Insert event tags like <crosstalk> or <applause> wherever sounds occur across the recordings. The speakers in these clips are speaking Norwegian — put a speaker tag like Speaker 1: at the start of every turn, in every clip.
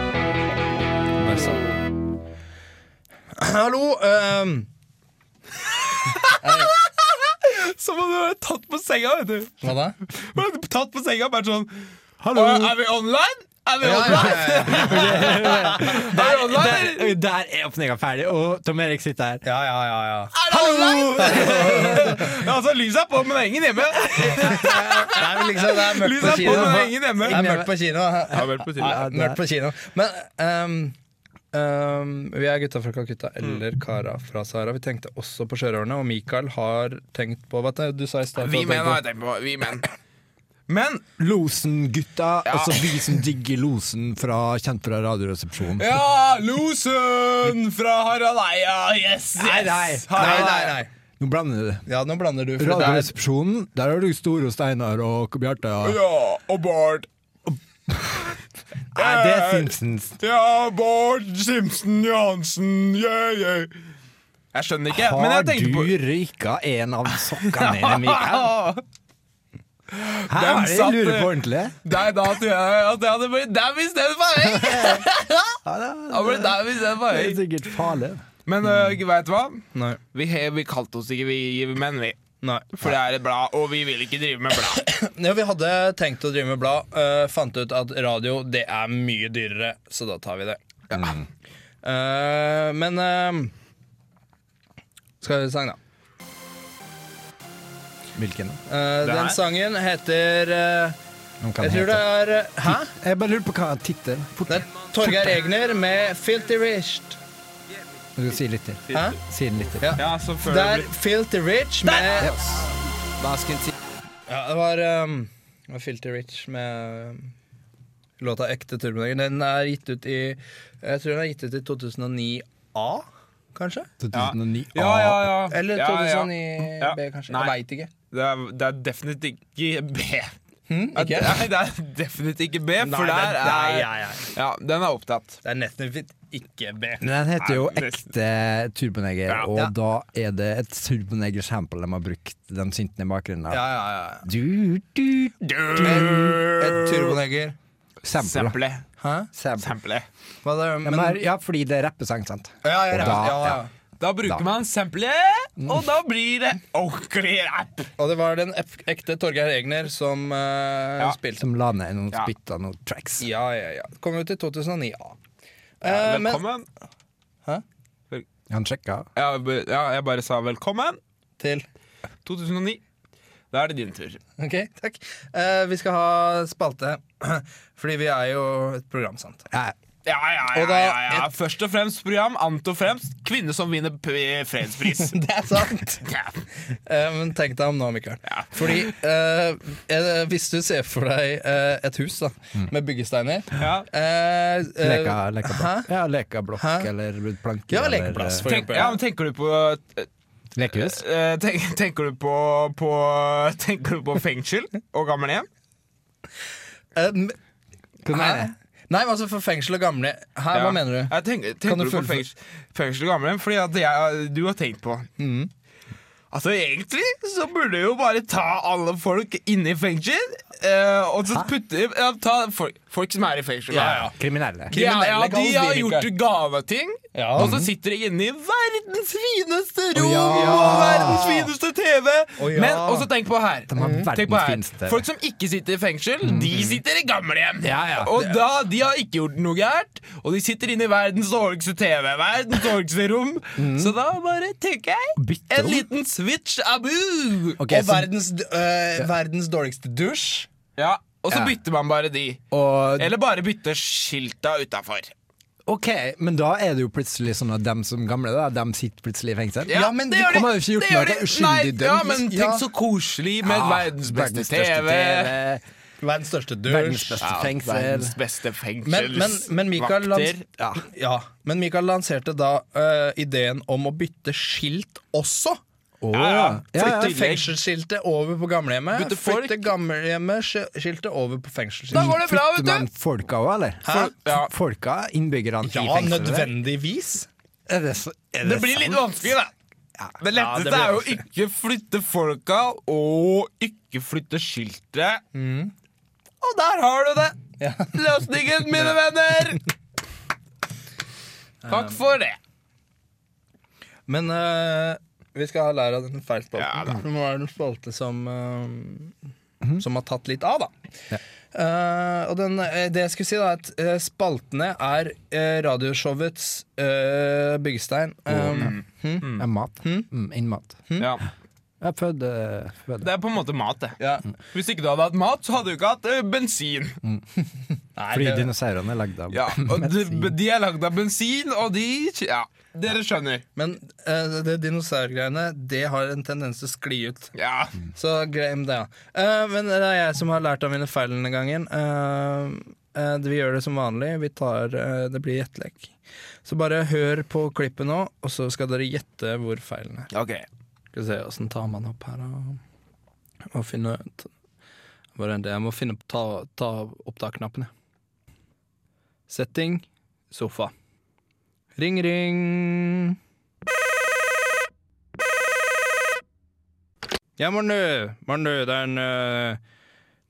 Speaker 1: Der sa han. Hallo ehm,
Speaker 2: Som om du var tatt på senga, vet du.
Speaker 1: Hva da?
Speaker 2: Bare <laughs> Tatt på senga, bare sånn Hallo. Er vi online? Er vi
Speaker 1: Ja,
Speaker 2: online?
Speaker 1: ja, ja, ja.
Speaker 2: Er vi online? eller?
Speaker 3: Der, der er åpninga ferdig, og Tom Erik sitter her.
Speaker 1: ja, ja, ja, ja.
Speaker 2: Er det online?
Speaker 3: <laughs>
Speaker 2: ja, altså, lyset er på, men det er ingen hjemme.
Speaker 1: Nei, men liksom, det er mørkt
Speaker 2: Lyset
Speaker 1: på
Speaker 2: er på,
Speaker 1: kino.
Speaker 2: men det er ingen hjemme.
Speaker 1: Det er mørkt på kino.
Speaker 2: Ja, vel på tide.
Speaker 1: Ja, Mørkt på kino. Men ehm, ehm, vi er gutta fra Calcutta
Speaker 2: Mm.
Speaker 1: eller kara fra Sahara. Vi tenkte også på sjørøverne, og Mikael har tenkt på Hva er det du sa i stad?
Speaker 2: Vi
Speaker 1: du hadde tenkt på?
Speaker 2: menn har jeg tenkt på. Vi menn. Men
Speaker 3: Losen-gutta, altså vi som digger Losen fra kjent fra Radioresepsjonen.
Speaker 2: Ja, losen fra Harald Eia. Yes, yes.
Speaker 3: Nei, nei.
Speaker 1: Nei,
Speaker 2: Harald
Speaker 1: nei,
Speaker 2: Eia.
Speaker 1: nei.
Speaker 3: Nå blander du det.
Speaker 1: Ja, nå blander du. For det er,
Speaker 3: Radioresepsjonen, der har du Store og Steinar og Bjarte. og-
Speaker 2: Ja, og Bård.
Speaker 3: Nei, det er Simpsons.
Speaker 2: Ja, Bård Simpson Johansen. Yeah, yeah. Jeg skjønner ikke, men
Speaker 3: Har
Speaker 2: jeg
Speaker 3: du
Speaker 2: tenkte på
Speaker 3: røyka en av sokkene
Speaker 2: <laughs>
Speaker 3: dine, Mikael?
Speaker 2: Ah,
Speaker 3: Her
Speaker 2: Den
Speaker 3: er det jeg
Speaker 2: satt-
Speaker 3: lurer på ordentlig.
Speaker 2: Det er da at jeg, at jeg hadde blitt dau istedenfor
Speaker 1: <laughs>
Speaker 2: meg! Jeg ble dau istedenfor
Speaker 3: Det er
Speaker 2: meg.
Speaker 3: sikkert farlig.
Speaker 2: Men uh,
Speaker 1: Mm.
Speaker 2: veit du hva?
Speaker 1: nei,
Speaker 2: Vi, he- vi kalte oss ikke vi menn, vi.
Speaker 1: nei.
Speaker 2: For det er et blad, og vi vil ikke drive med blad.
Speaker 1: Ja, vi hadde tenkt å drive med blad. eh, fant ut at radio det er mye dyrere, så da tar vi det. Eh, men eh, Skal vi sange, da?
Speaker 3: Hvilken?
Speaker 1: Eh,
Speaker 2: Det her?
Speaker 1: den sangen heter eh,
Speaker 3: Noen kan
Speaker 1: Jeg tror det
Speaker 3: hete.
Speaker 1: er eh, Hæ?
Speaker 3: Jeg bare lurer på hva tittelen
Speaker 1: Det er Torgeir Egner med 'Filty Rich'.
Speaker 3: Du skal si litt til.
Speaker 1: Hæ?
Speaker 3: Si den litt til.
Speaker 1: Ja.
Speaker 2: Ja, så før
Speaker 1: Det er Filty Rich med Ja, det var, ehm, det var Filty Rich med ehm, låta 'Ekte turboneger'. Den er gitt ut i Jeg tror den er gitt ut i 2009 A, kanskje?
Speaker 3: 2009.
Speaker 2: Ja, ja, ja.
Speaker 1: Eller
Speaker 2: ja, ja.
Speaker 1: 2009
Speaker 2: Ja.
Speaker 1: B, kanskje.
Speaker 2: Nei.
Speaker 1: Jeg veit ikke.
Speaker 2: Det, er, det er definitivt ikke B.
Speaker 1: Hm,
Speaker 2: Ja,
Speaker 1: ikke?
Speaker 2: Nei, det er definitivt ikke B, for
Speaker 1: det er-
Speaker 2: der er
Speaker 1: nei, nei, nei.
Speaker 2: Ja, den er opptatt.
Speaker 1: Det er nesten fint ikke B.
Speaker 3: Men den heter jo
Speaker 2: Nei,
Speaker 3: Ekte turboneger,
Speaker 2: Ja.
Speaker 3: og
Speaker 1: Ja.
Speaker 3: da er det et turboneger-sample de har brukt, den synten i
Speaker 1: Ja,
Speaker 3: bakgrunnen. der.
Speaker 1: ja, ja.
Speaker 3: Du, du,
Speaker 1: Et
Speaker 2: Sample.
Speaker 1: turboneger.
Speaker 3: sample.
Speaker 1: Hæ?
Speaker 3: sample.
Speaker 2: Sample.
Speaker 1: Hva er det?
Speaker 3: Ja,
Speaker 1: Men,
Speaker 3: men, ja, fordi det er rappesang, sant?
Speaker 1: ja, ja,
Speaker 3: Og
Speaker 1: ja,
Speaker 3: da-
Speaker 1: ja, ja.
Speaker 3: ja.
Speaker 2: Da bruker
Speaker 3: Da.
Speaker 2: man sample, og da blir det ordentlig rap.
Speaker 1: Og det var den ek- ekte Torgeir Egner som eh,
Speaker 2: Ja.
Speaker 1: spilte.
Speaker 3: Som la ned noen
Speaker 2: Ja.
Speaker 3: spytt av noen tracks.
Speaker 1: Ja, ja, ja. Kom ut i 2009 A. Eh, men-
Speaker 2: Velkommen.
Speaker 3: Han sjekka.
Speaker 2: Ja, b- ja, jeg bare sa velkommen.
Speaker 1: Til
Speaker 2: 2009. Da er det din tur.
Speaker 1: Ok, takk. Eh, vi skal ha spalte, <clears throat> fordi vi er jo et program, sant?
Speaker 3: Ja,
Speaker 2: Ja, ja, ja,
Speaker 1: Og da-
Speaker 2: ja, ja. Først og fremst program. Annet og fremst kvinne som vinner p-
Speaker 1: <laughs>
Speaker 2: fredspris.
Speaker 1: Det er sant.
Speaker 2: Ja.
Speaker 1: Eh, men tenk deg om nå, Mikael. Fordi eh, eh, hvis du ser for deg eh, et hus da,
Speaker 3: Mm.
Speaker 1: med byggesteiner
Speaker 2: Ja.
Speaker 1: eh, eh,
Speaker 3: leka, leka
Speaker 1: Hæ?
Speaker 3: blokk. Ja, leka blokk
Speaker 1: Hæ?
Speaker 3: eller planke.
Speaker 1: Ja,
Speaker 3: eller,
Speaker 1: lekeplass,
Speaker 3: eh,
Speaker 1: for
Speaker 2: Tenk,
Speaker 1: eksempel.
Speaker 2: ja, men tenker du på
Speaker 3: Lekehus.
Speaker 2: eh, tenk, Tenker du på, på Tenker du på fengsel og gamlehjem?
Speaker 1: Eh, men-
Speaker 3: Hva mener jeg?
Speaker 1: Nei, men altså for fengsel og gamle Hæ,
Speaker 2: Ja.
Speaker 1: Hva mener du?
Speaker 2: Jeg tenker, tenker
Speaker 1: du
Speaker 2: du, på
Speaker 1: fullføre?
Speaker 2: fengsel, fengsel og gamlehjem? Fordi at jeg, du har tenkt på
Speaker 1: Mm.
Speaker 2: Altså Egentlig så burde du jo bare ta alle folk inne i fengsel. eh, og så putte ja, Ta folk, folk som er i fengsel.
Speaker 1: Ja,
Speaker 2: da.
Speaker 1: ja.
Speaker 3: Kriminelle.
Speaker 2: Ja,
Speaker 1: Kriminelle
Speaker 2: ja, de
Speaker 1: kalles
Speaker 2: har
Speaker 1: de,
Speaker 2: gjort
Speaker 1: Mikael.
Speaker 2: gaveting,
Speaker 1: Ja.
Speaker 2: og så sitter de inne i verdens fineste rom!
Speaker 3: ja.
Speaker 2: og Verdens fineste TV!
Speaker 1: Å, ja.
Speaker 2: Men også tenk på her. Mm.
Speaker 3: De har
Speaker 2: Tenk på
Speaker 3: verdens fineste. Mm.
Speaker 2: her. Folk som ikke sitter i fengsel, de sitter i gamlehjem.
Speaker 3: Ja, ja.
Speaker 2: Og da, de har ikke gjort noe gærent, og de sitter inne i verdens dårligste TV, verdens dårligste rom. Så da bare tenker jeg
Speaker 3: Bytte
Speaker 2: en
Speaker 3: Mm. rom.
Speaker 2: liten switch abu!
Speaker 3: Ok,
Speaker 1: og
Speaker 3: så-
Speaker 1: verdens, d- eh, verdens dårligste dusj.
Speaker 2: Ja, og så
Speaker 3: Ja.
Speaker 2: bytter man bare de.
Speaker 3: og,
Speaker 2: Eller bare bytter skilta utafor.
Speaker 3: ok, men da er det jo plutselig sånn at dem som gamle, da, dem sitter plutselig i fengsel.
Speaker 1: Ja, men de
Speaker 3: kommer jo ikke gjort
Speaker 2: Det
Speaker 3: noe,
Speaker 2: gjør
Speaker 3: det er uskyldig
Speaker 2: Nei,
Speaker 3: dømt. Ah,
Speaker 2: Ja, men
Speaker 1: Ja.
Speaker 2: tenk så koselig med
Speaker 3: Ja,
Speaker 2: verdens beste
Speaker 3: største
Speaker 2: TV.
Speaker 1: Verdens største
Speaker 3: Verdens
Speaker 1: dusj.
Speaker 3: beste
Speaker 2: Ja,
Speaker 3: fengsel.
Speaker 2: verdens beste fengsels...
Speaker 1: Men, men, men, Mikael,
Speaker 2: vakter.
Speaker 1: lans ja. men Mikael lanserte da eh, ideen om å bytte skilt også.
Speaker 3: Å,
Speaker 2: Ja, ja.
Speaker 3: ja, ja.
Speaker 1: Flytte fengselsskiltet over på gamlehjemmet.
Speaker 2: Bytte folk.
Speaker 1: Flytte gamlehjemmet-skiltet over på
Speaker 2: Da
Speaker 1: fengselsskiltet.
Speaker 2: går det bra, vet
Speaker 3: Flytter man
Speaker 2: du!
Speaker 3: folka òg, eller?
Speaker 2: Hæ? Ja.
Speaker 3: Folka, innbyggerne i
Speaker 1: Ja,
Speaker 3: fengselet?
Speaker 1: nødvendigvis.
Speaker 3: Er det, så, er
Speaker 2: Det blir litt
Speaker 3: sant?
Speaker 2: vanskelig, da. Det
Speaker 1: Ja, det
Speaker 2: letteste
Speaker 1: blir
Speaker 2: er jo ikke flytte folka og ikke flytte skiltet. Og der har du det!
Speaker 1: Ja.
Speaker 2: Løsningen, mine venner! Takk for det.
Speaker 1: Men eh, vi skal ha lær av den feilspalten.
Speaker 2: Ja, da.
Speaker 1: for nå er det en spalte som eh, Som har tatt litt av, da.
Speaker 3: Ja.
Speaker 1: Eh, og den, eh, det jeg skulle si, da, er at eh, spaltene er eh, radioshowets eh, byggestein. Um,
Speaker 3: Ja, mat.
Speaker 2: Hm?
Speaker 3: Mm, inn mat.
Speaker 2: Ja.
Speaker 3: Jeg eh, fødde, fødde.
Speaker 2: Det er på en måte mat, det.
Speaker 1: ja.
Speaker 2: Hvis ikke du hadde hatt mat, så hadde du ikke hatt eh, bensin.
Speaker 1: Nei,
Speaker 3: Fordi
Speaker 1: det,
Speaker 3: dinosaurene er lagd av <laughs>
Speaker 2: Ja, og de, de er lagd av bensin, og de Ja, dere skjønner.
Speaker 1: men eh, det dinosaurgreiene Det har en tendens til å skli ut.
Speaker 2: Ja.
Speaker 1: Så glem det, ja. Eh, men det er jeg som har lært av mine feil denne gangen. Eh, eh, vi gjør det som vanlig. Vi tar, eh, det blir gjettelek. Så bare hør på klippet nå, og så skal dere gjette hvor feilen er.
Speaker 2: Ok.
Speaker 1: Skal vi se, Åssen tar man opp her, da? Må finne ut Bare vent, Jeg må finne opp- ta, ta opp da knappen, jeg. Setting sofa. Ring, ring. Ja, Mornu, Mornu, det er en øh,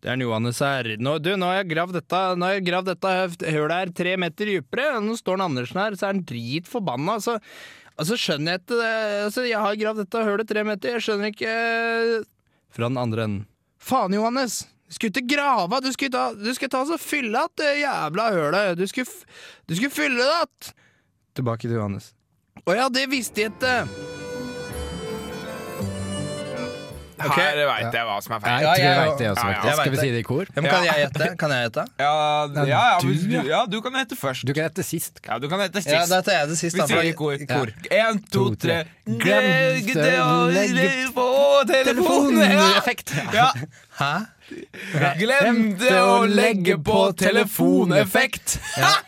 Speaker 1: Det er en Johannes her. Nå, du, nå har jeg gravd dette Nå har jeg gravd dette høft- hølet her tre meter dypere. og Nå står den Andersen her, så er han dritforbanna. Altså, altså skjønner jeg ikke det altså, Jeg har gravd dette hølet tre meter, jeg skjønner ikke eh, Fra den andre enden. Faen, Johannes! Du skulle ikke grave, du skulle ta, du skulle ta og så fylle att det jævla hølet. Du skulle, f- du skulle fylle det att! Tilbake til Johannes. Å ja, det visste jeg ikke! Ok.
Speaker 2: Her veit jeg hva som er feil.
Speaker 3: Jeg tror jeg
Speaker 1: jeg-
Speaker 3: vet det også.
Speaker 2: ja,
Speaker 3: vet du.
Speaker 2: jeg
Speaker 1: vet
Speaker 3: Skal vi
Speaker 1: det.
Speaker 3: si det i kor?
Speaker 1: Ja, men kan jeg gjette? Kan jeg <laughs> gjette?
Speaker 2: Ja, ja, ja,
Speaker 3: du,
Speaker 2: hvis du,
Speaker 3: ja.
Speaker 2: ja du kan hete først.
Speaker 3: Du kan hette sist.
Speaker 2: Ja, du kan hete
Speaker 1: Ja,
Speaker 2: sist.
Speaker 1: da tar jeg det sist.
Speaker 2: Vi
Speaker 1: da,
Speaker 2: sier
Speaker 1: for-
Speaker 2: i
Speaker 1: i
Speaker 2: kor.
Speaker 1: kor.
Speaker 2: Én, to,
Speaker 3: To,
Speaker 2: tre
Speaker 3: tre.
Speaker 2: Glemte å legge på telefonen!
Speaker 3: Telefoneffekt.
Speaker 2: Ja.
Speaker 1: Hæ?
Speaker 2: ja. Glemte å legge på telefoneffekt.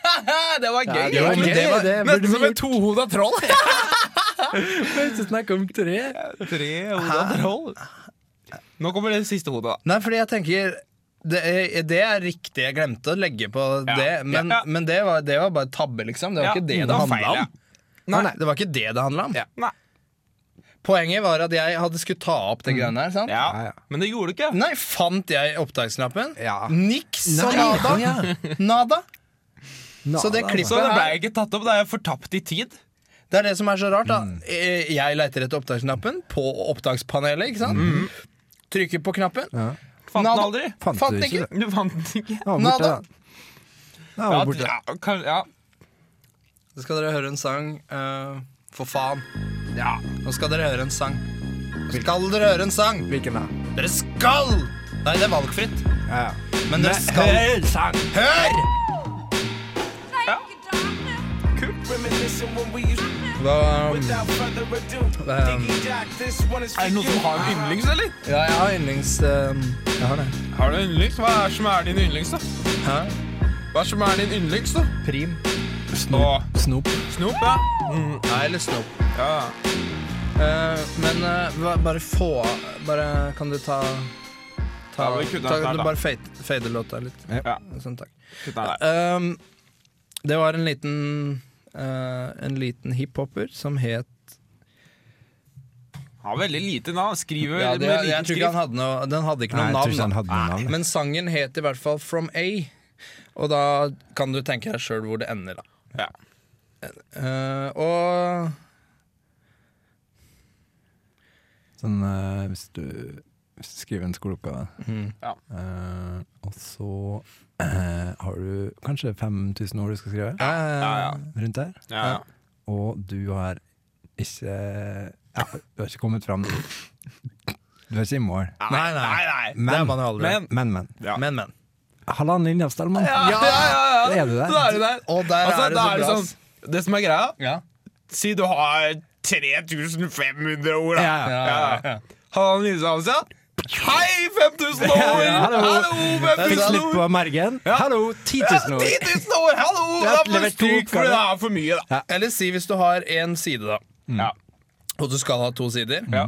Speaker 2: <laughs> det var gøy.
Speaker 1: Ja, det var
Speaker 2: egentlig.
Speaker 1: gøy, det var-
Speaker 3: det burde vi
Speaker 2: Nesten som
Speaker 3: gjort.
Speaker 2: et tohoda
Speaker 3: <laughs>
Speaker 2: troll.
Speaker 3: Ikke snakk om tre.
Speaker 2: Trehoda troll. Nå kommer det siste hodet. da.
Speaker 1: Nei, fordi jeg tenker det er, det er riktig, jeg glemte å legge på
Speaker 2: Ja.
Speaker 1: det, men,
Speaker 2: Ja.
Speaker 1: men det, var, det var bare tabbe, liksom. Det var
Speaker 2: Ja,
Speaker 1: ikke det
Speaker 2: det
Speaker 1: det
Speaker 2: var
Speaker 1: handla
Speaker 2: feil, ja.
Speaker 1: om. Nei. det var ikke det det handla om.
Speaker 2: Ja. Nei.
Speaker 1: Poenget var at jeg hadde skulle ta opp det greiene her. sant?
Speaker 3: Ja, ja.
Speaker 2: Mm. Ja. Men det gjorde du ikke.
Speaker 1: Nei, fant jeg opptaksknappen?
Speaker 3: Ja.
Speaker 1: Niks og
Speaker 3: Nei,
Speaker 1: nada. Nada. Så det klippet-
Speaker 2: Så det ble ikke tatt opp. Da er jeg fortapt i tid.
Speaker 1: Det er det som er så rart. da
Speaker 2: Mm.
Speaker 1: Eh, Jeg leter etter opptaksknappen på opptakspanelet. ikke sant?
Speaker 2: Mm.
Speaker 1: Trykker på knappen.
Speaker 2: Fant
Speaker 1: Nada.
Speaker 2: den aldri.
Speaker 3: Fant
Speaker 1: Fant
Speaker 3: du
Speaker 1: ikke.
Speaker 3: ikke det?
Speaker 2: Du fant den ikke.
Speaker 3: Ja, borte,
Speaker 1: Nada.
Speaker 3: da. Ja,
Speaker 2: Ja,
Speaker 3: borte.
Speaker 2: ja, kan, ja.
Speaker 1: Så skal dere høre en sang. eh, for faen.
Speaker 2: ja.
Speaker 1: Nå skal dere høre en sang. Nå skal dere høre en sang!
Speaker 3: Hvilken da?
Speaker 1: Dere skal! Nei, det er valgfritt.
Speaker 3: Ja, ja.
Speaker 1: Men dere skal
Speaker 3: sang!
Speaker 1: Hør! Hva um,
Speaker 2: Er det noen som har en yndlings, eller?
Speaker 1: Ja, jeg har yndlings... Um, jeg har det.
Speaker 2: Har du en yndlings? Hva er som er din yndlings, da?
Speaker 1: Hæ?
Speaker 2: Hva er som er din yndlings, da?
Speaker 1: Prim.
Speaker 2: Å,
Speaker 3: Snop.
Speaker 2: Snop, ja.
Speaker 1: Nei, eller Snop.
Speaker 2: ja.
Speaker 1: Eh, men eh, hva- bare få Bare kan du ta Ta,
Speaker 2: Ja, vi
Speaker 1: ta,
Speaker 2: kunne hatt den
Speaker 1: du
Speaker 2: her,
Speaker 1: bare fade, fade låta litt.
Speaker 2: Ja.
Speaker 1: Sånn, takk.
Speaker 2: Kutt den der.
Speaker 1: Um, det var en liten eh, En liten hiphoper som het
Speaker 2: Har veldig lite navn. Skriver
Speaker 1: ja, det,
Speaker 2: med
Speaker 1: jeg,
Speaker 2: liten
Speaker 1: tror ikke han
Speaker 2: skrift.
Speaker 1: hadde noe Den hadde ikke noe
Speaker 3: Nei, jeg
Speaker 1: navn.
Speaker 3: tror ikke han
Speaker 1: da.
Speaker 3: hadde noe navn.
Speaker 1: Men sangen het i hvert fall From A, og da kan du tenke deg sjøl hvor det ender, da.
Speaker 2: Ja.
Speaker 1: Eh, og
Speaker 3: Sånn eh, hvis, du, hvis du skriver en skoleoppgave,
Speaker 2: Ja.
Speaker 3: eh, og så eh, har du kanskje 5000 ord du skal skrive
Speaker 1: eh,
Speaker 2: Ja, ja.
Speaker 3: rundt der,
Speaker 2: Ja, ja.
Speaker 3: og du har ikke ja, Du har ikke kommet fram. Du er ikke i mål.
Speaker 1: Nei, nei.
Speaker 2: Nei, nei.
Speaker 1: Det er man jo aldri.
Speaker 2: Men-
Speaker 3: men, men.
Speaker 2: Ja.
Speaker 1: Men, men.
Speaker 3: Halvannen linje av Stallmann.
Speaker 2: Ja, ja, ja,
Speaker 3: Da
Speaker 2: ja.
Speaker 3: er du der.
Speaker 2: Da er du der.
Speaker 1: Og der
Speaker 2: Altså,
Speaker 1: er det så
Speaker 2: da er det
Speaker 1: bra.
Speaker 2: sånn
Speaker 1: ass.
Speaker 2: Det som er greia,
Speaker 1: Ja.
Speaker 2: si du har 3500 ord, da.
Speaker 3: Ja,
Speaker 1: Ja, ja, ja.
Speaker 2: Halvannen linje av seg. Hei, 5000 år!
Speaker 3: Ja, hallo.
Speaker 2: Hallo,
Speaker 3: Fikk
Speaker 2: 5000
Speaker 3: slipp
Speaker 2: år!
Speaker 3: på mergen.
Speaker 2: Ja.
Speaker 3: Hallo, 10 000
Speaker 2: Ja,
Speaker 3: ord!
Speaker 2: 10 000 år! Hallo!
Speaker 3: Jeg har
Speaker 2: Da får du
Speaker 3: levert to
Speaker 2: stryk fordi det
Speaker 3: oppgaver.
Speaker 2: er for mye, da.
Speaker 1: Eller si hvis du har én side, da,
Speaker 2: Ja.
Speaker 1: og du skal ha to sider,
Speaker 2: Ja.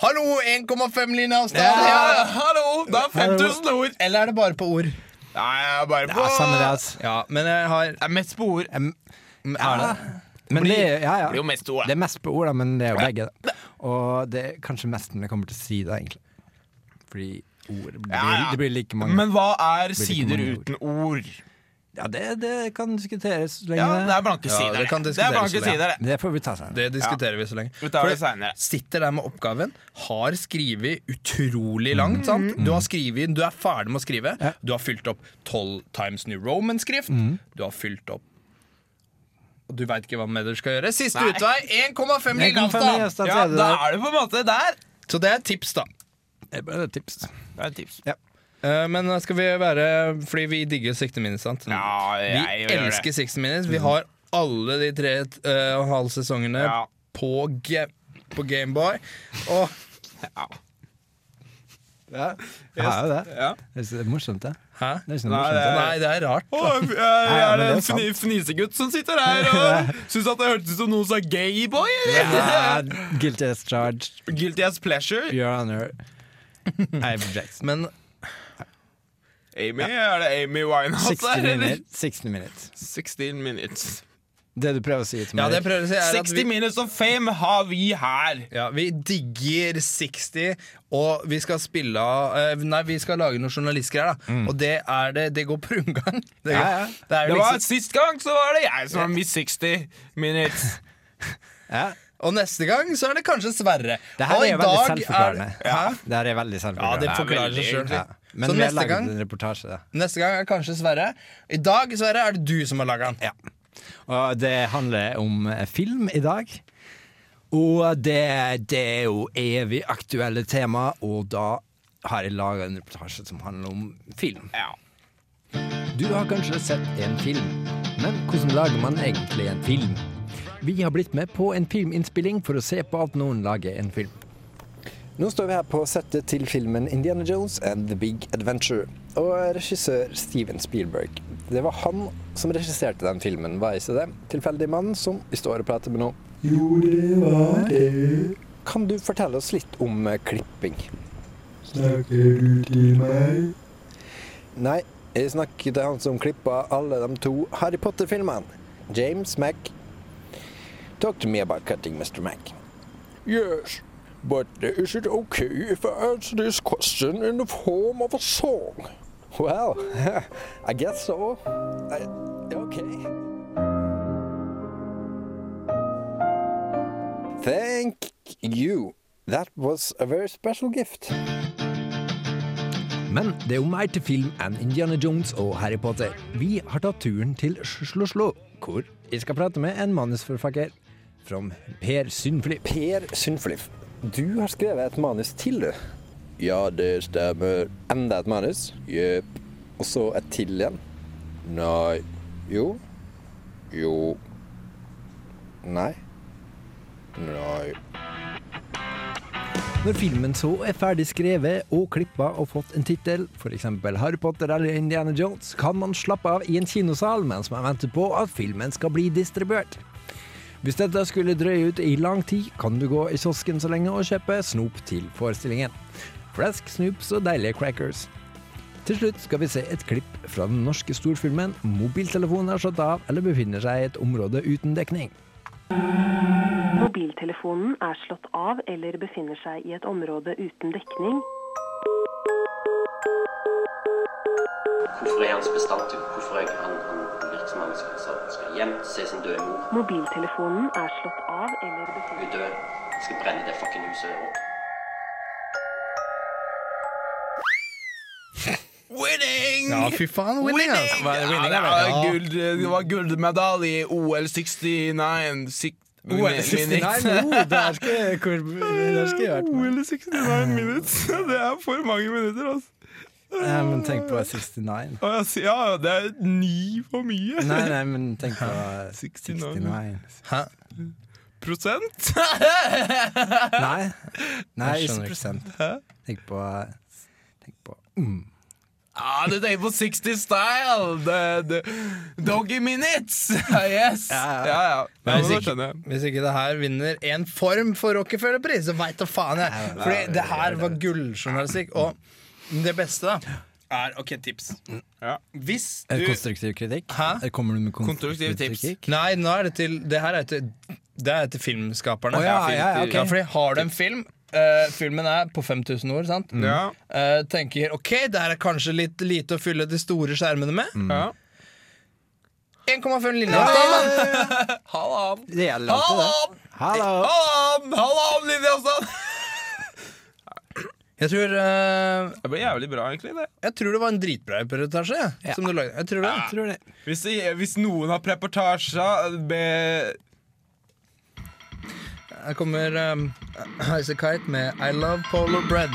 Speaker 1: Hallo, 1,5-linja av
Speaker 2: Ja,
Speaker 1: stad!
Speaker 2: ja, hallo! Det er 5000 ord.
Speaker 1: Eller er det bare på ord?
Speaker 2: Nei, jeg er bare på
Speaker 3: Ja, samme det, altså. ass.
Speaker 1: Ja, men jeg har
Speaker 2: Jeg er mest på ord.
Speaker 3: Em,
Speaker 1: har det.
Speaker 3: Men det, er- ja,
Speaker 2: Det blir jo
Speaker 3: ja.
Speaker 2: mest ord,
Speaker 3: det
Speaker 2: da.
Speaker 3: er mest på ord, da, men det er jo begge. Da. Og det er kanskje mest når det kommer til sider, egentlig. Fordi ord Det blir,
Speaker 2: Ja, ja.
Speaker 3: det blir like mange.
Speaker 2: Men hva er
Speaker 3: ikke
Speaker 2: sider
Speaker 3: mange ord.
Speaker 2: uten ord?
Speaker 3: ja, det, det kan diskuteres så lenge
Speaker 2: Ja, det
Speaker 3: det.
Speaker 2: er blanke
Speaker 1: Ja,
Speaker 2: sider.
Speaker 1: det kan
Speaker 2: det. det
Speaker 1: diskuteres
Speaker 2: er blanke
Speaker 1: om det.
Speaker 2: sider, det.
Speaker 3: Det får vi ta senere.
Speaker 1: Det diskuterer vi så lenge.
Speaker 2: Vi tar det
Speaker 1: For
Speaker 2: senere.
Speaker 1: sitter der med oppgaven, har skrevet utrolig
Speaker 2: Mm.
Speaker 1: langt. Sant? Du har skrevet, du er ferdig med å skrive.
Speaker 3: Ja.
Speaker 1: Du har fylt opp 12 Times New Roman-skrift.
Speaker 2: Mm.
Speaker 1: Du har fylt opp Og du veit ikke hva med dere skal gjøre. Siste
Speaker 2: Nei.
Speaker 1: utvei 1,5 mil
Speaker 3: 1,5 mil
Speaker 1: avstand!
Speaker 3: avstand.
Speaker 2: Ja, da er det på en måte der.
Speaker 1: Så det er et tips, da.
Speaker 3: Det er bare et tips.
Speaker 2: Det er et tips.
Speaker 3: Ja.
Speaker 1: Eh, Men skal vi være Fordi vi digger 60 minutes, sant?
Speaker 2: Ja,
Speaker 1: Vi
Speaker 2: jeg gjør det. Mm.
Speaker 1: elsker 60 minutes. Vi har alle de tre eh, og en halv sesongene
Speaker 2: Ja.
Speaker 1: på, ga på Gameboy. Og
Speaker 2: Ja.
Speaker 3: Ja, jeg har jo det.
Speaker 2: Ja.
Speaker 3: Det er så- det er morsomt, det.
Speaker 1: Hæ?
Speaker 3: Det er ikke noe
Speaker 2: Nei,
Speaker 3: morsomt.
Speaker 2: det-
Speaker 3: Det.
Speaker 1: Nei, det er rart.
Speaker 2: Å, jeg, jeg
Speaker 3: ja,
Speaker 2: er
Speaker 3: men det er
Speaker 2: en fni, fnisegutt som sitter her og syns at det hørtes ut som noen sa gayboy.
Speaker 3: Ja, guilty as charged,
Speaker 2: Guilty as pleasure.
Speaker 3: your honor. I've
Speaker 1: <laughs>
Speaker 3: Jackson.
Speaker 1: Men
Speaker 2: Amy, Er det Amy
Speaker 1: Altså,
Speaker 2: Winehouse
Speaker 3: 60
Speaker 2: der, eller?
Speaker 3: minutes. 60 minutes.
Speaker 2: 16 minutes.
Speaker 3: Det du prøver å si til
Speaker 1: ja,
Speaker 3: meg
Speaker 1: det jeg prøver å si er at
Speaker 2: 60
Speaker 1: vi,
Speaker 2: minutes of fame har vi her.
Speaker 1: ja, vi digger 60, og vi skal spille av eh, Nei, vi skal lage noen journalistgreier, da. Og det er det Det går på rundgang. Det,
Speaker 3: Mm. Ja, ja.
Speaker 1: det er
Speaker 2: Det
Speaker 1: jo
Speaker 2: var
Speaker 1: liksom,
Speaker 2: Sist gang så var det jeg som var Miss 60 minutes.
Speaker 3: ja,
Speaker 1: og neste gang så er det kanskje Sverre.
Speaker 3: Det her
Speaker 1: og
Speaker 3: er jo veldig selvforklarende.
Speaker 1: Hæ?
Speaker 3: Det her er veldig
Speaker 1: Ja,
Speaker 3: selvforklarende.
Speaker 1: det forklarer
Speaker 2: veldig
Speaker 1: seg sjøl.
Speaker 3: Ja. Men
Speaker 1: Så
Speaker 3: vi har
Speaker 1: neste
Speaker 3: laget
Speaker 1: gang,
Speaker 3: en reportasje, da.
Speaker 1: neste gang er kanskje Sverre. I dag, Sverre, er det du som har laga den.
Speaker 3: Ja. Og det handler om eh, film i dag. Og det, det er jo evig aktuelle tema, og da har jeg laga en reportasje som handler om film.
Speaker 2: Ja.
Speaker 3: Du har kanskje sett en film, men hvordan lager man egentlig en film? Vi har blitt med på en filminnspilling for å se på at noen lager en film. Nå står vi her på settet til filmen 'Indiana Jones and The Big Adventure' og regissør Steven Spielberg. Det var han som regisserte den filmen, var ikke det? Tilfeldig mann som vi står og prater med nå. Jo, det var det. Kan du fortelle oss litt om eh, klipping?
Speaker 4: Snakker du til meg?
Speaker 3: Nei, jeg snakker til han som klippa alle de to Harry Potter-filmene. James Mack. Talk to me about cutting, Mr. Mack. Yes, but is it okay if I answer this question in the form of a song? Well, <laughs> I guess so. I, okay. Thank you. That was a very special gift. Men det er jo mer til film enn Indiana Jones og Harry Potter. Vi har tatt turen til Slå-Slå, hvor jeg skal prate med en manusforfatter fra Per Sundflip. Per Sundflip, du har skrevet et manus til, du? Ja, det stemmer. Enda et manus? Jepp. Og så et til igjen? Nei. Jo. Jo. Nei. Nei. Når filmen så er ferdig skrevet og klippa og fått en tittel, f.eks. Harry Potter eller Indiana Jones, kan man slappe av i en kinosal mens man venter på at filmen skal bli distribuert. Hvis dette skulle drøye ut i lang tid, kan du gå i kiosken så lenge og kjøpe snop til forestillingen. Flesk, snoops og deilige crackers. Til slutt skal vi se et klipp fra den norske storfilmen 'Mobiltelefonen er slått av' eller befinner seg i et område uten dekning.
Speaker 5: Mobiltelefonen er slått av eller befinner seg i et område uten dekning.
Speaker 6: Hvorfor er hans bestanddel? Hvorfor er han, han virker som han skal, skal hjem, se sin døde mor,
Speaker 5: Mobiltelefonen er slått av eller befinner
Speaker 6: hun er død, skal brenne det fucking huset opp.
Speaker 2: Winning!
Speaker 1: Ja, fy faen. Winning, altså.
Speaker 2: Ja,
Speaker 1: Winning er
Speaker 2: det,
Speaker 1: det.
Speaker 2: var gull, det var gullmedalje i OL 69 sik- min- minutes.
Speaker 3: der skal jeg, der skal jeg vært med.
Speaker 2: OL 69 minutes. <laughs> Det er for mange minutter, altså.
Speaker 3: Nei, men tenk på 69.
Speaker 2: Å, jeg sier- Ja, det er ni for mye.
Speaker 3: Nei, nei, men tenk på 69.
Speaker 2: 69.
Speaker 1: Hæ?
Speaker 2: <laughs> Prosent?
Speaker 3: Nei, nei
Speaker 1: Jeg
Speaker 3: ikke
Speaker 1: skjønner ikke.
Speaker 3: prosent. Tenk på Tenk på
Speaker 2: Ah, du tenker på 60 Style! The, the doggy Minutes! <laughs> yes!
Speaker 1: Ja, ja.
Speaker 2: Ja, ja. ja
Speaker 1: Men
Speaker 2: men
Speaker 1: hvis,
Speaker 2: nå
Speaker 1: ikke,
Speaker 2: skjønner jeg.
Speaker 1: hvis ikke det her vinner en form for Rockefeller-pris, så veit da faen jeg! Fordi det her var gulljournalistikk. Og det beste da er OK, tips.
Speaker 2: Ja.
Speaker 1: Hvis
Speaker 3: Er
Speaker 1: du
Speaker 3: det konstruktiv kritikk?
Speaker 1: Hæ?
Speaker 3: Er- Kommer du med
Speaker 2: Konstruktiv
Speaker 3: konstruktiv
Speaker 2: tips.
Speaker 3: kritikk?
Speaker 1: Nei, nå er det til Det her er til, det er til filmskaperne.
Speaker 3: Å, ja, ja, ja, ok.
Speaker 1: Ja, fordi har du en film eh, Filmen er på 5000 ord, sant?
Speaker 2: Mm. Ja,
Speaker 1: Eh, tenker OK, det her er kanskje litt lite å fylle de store skjermene med.
Speaker 2: ja.
Speaker 1: 1,5 linjeavstand! da.
Speaker 2: Hallam!
Speaker 3: Det gjelder alltid,
Speaker 2: Hallam!
Speaker 3: det. Hallo!
Speaker 2: Hallam! Hallam, Lindeåsson!
Speaker 1: Jeg tror eh,
Speaker 2: <laughs> Det ble jævlig bra, egentlig. det
Speaker 1: Jeg tror det var en dritbra reportasje. jeg, Som du lagde. Jeg tror
Speaker 2: Ah.
Speaker 1: det.
Speaker 3: Tror det.
Speaker 2: Hvis, det- hvis noen har preportasjer med
Speaker 1: Her kommer um, Isaac Kite med I Love Polar Bread.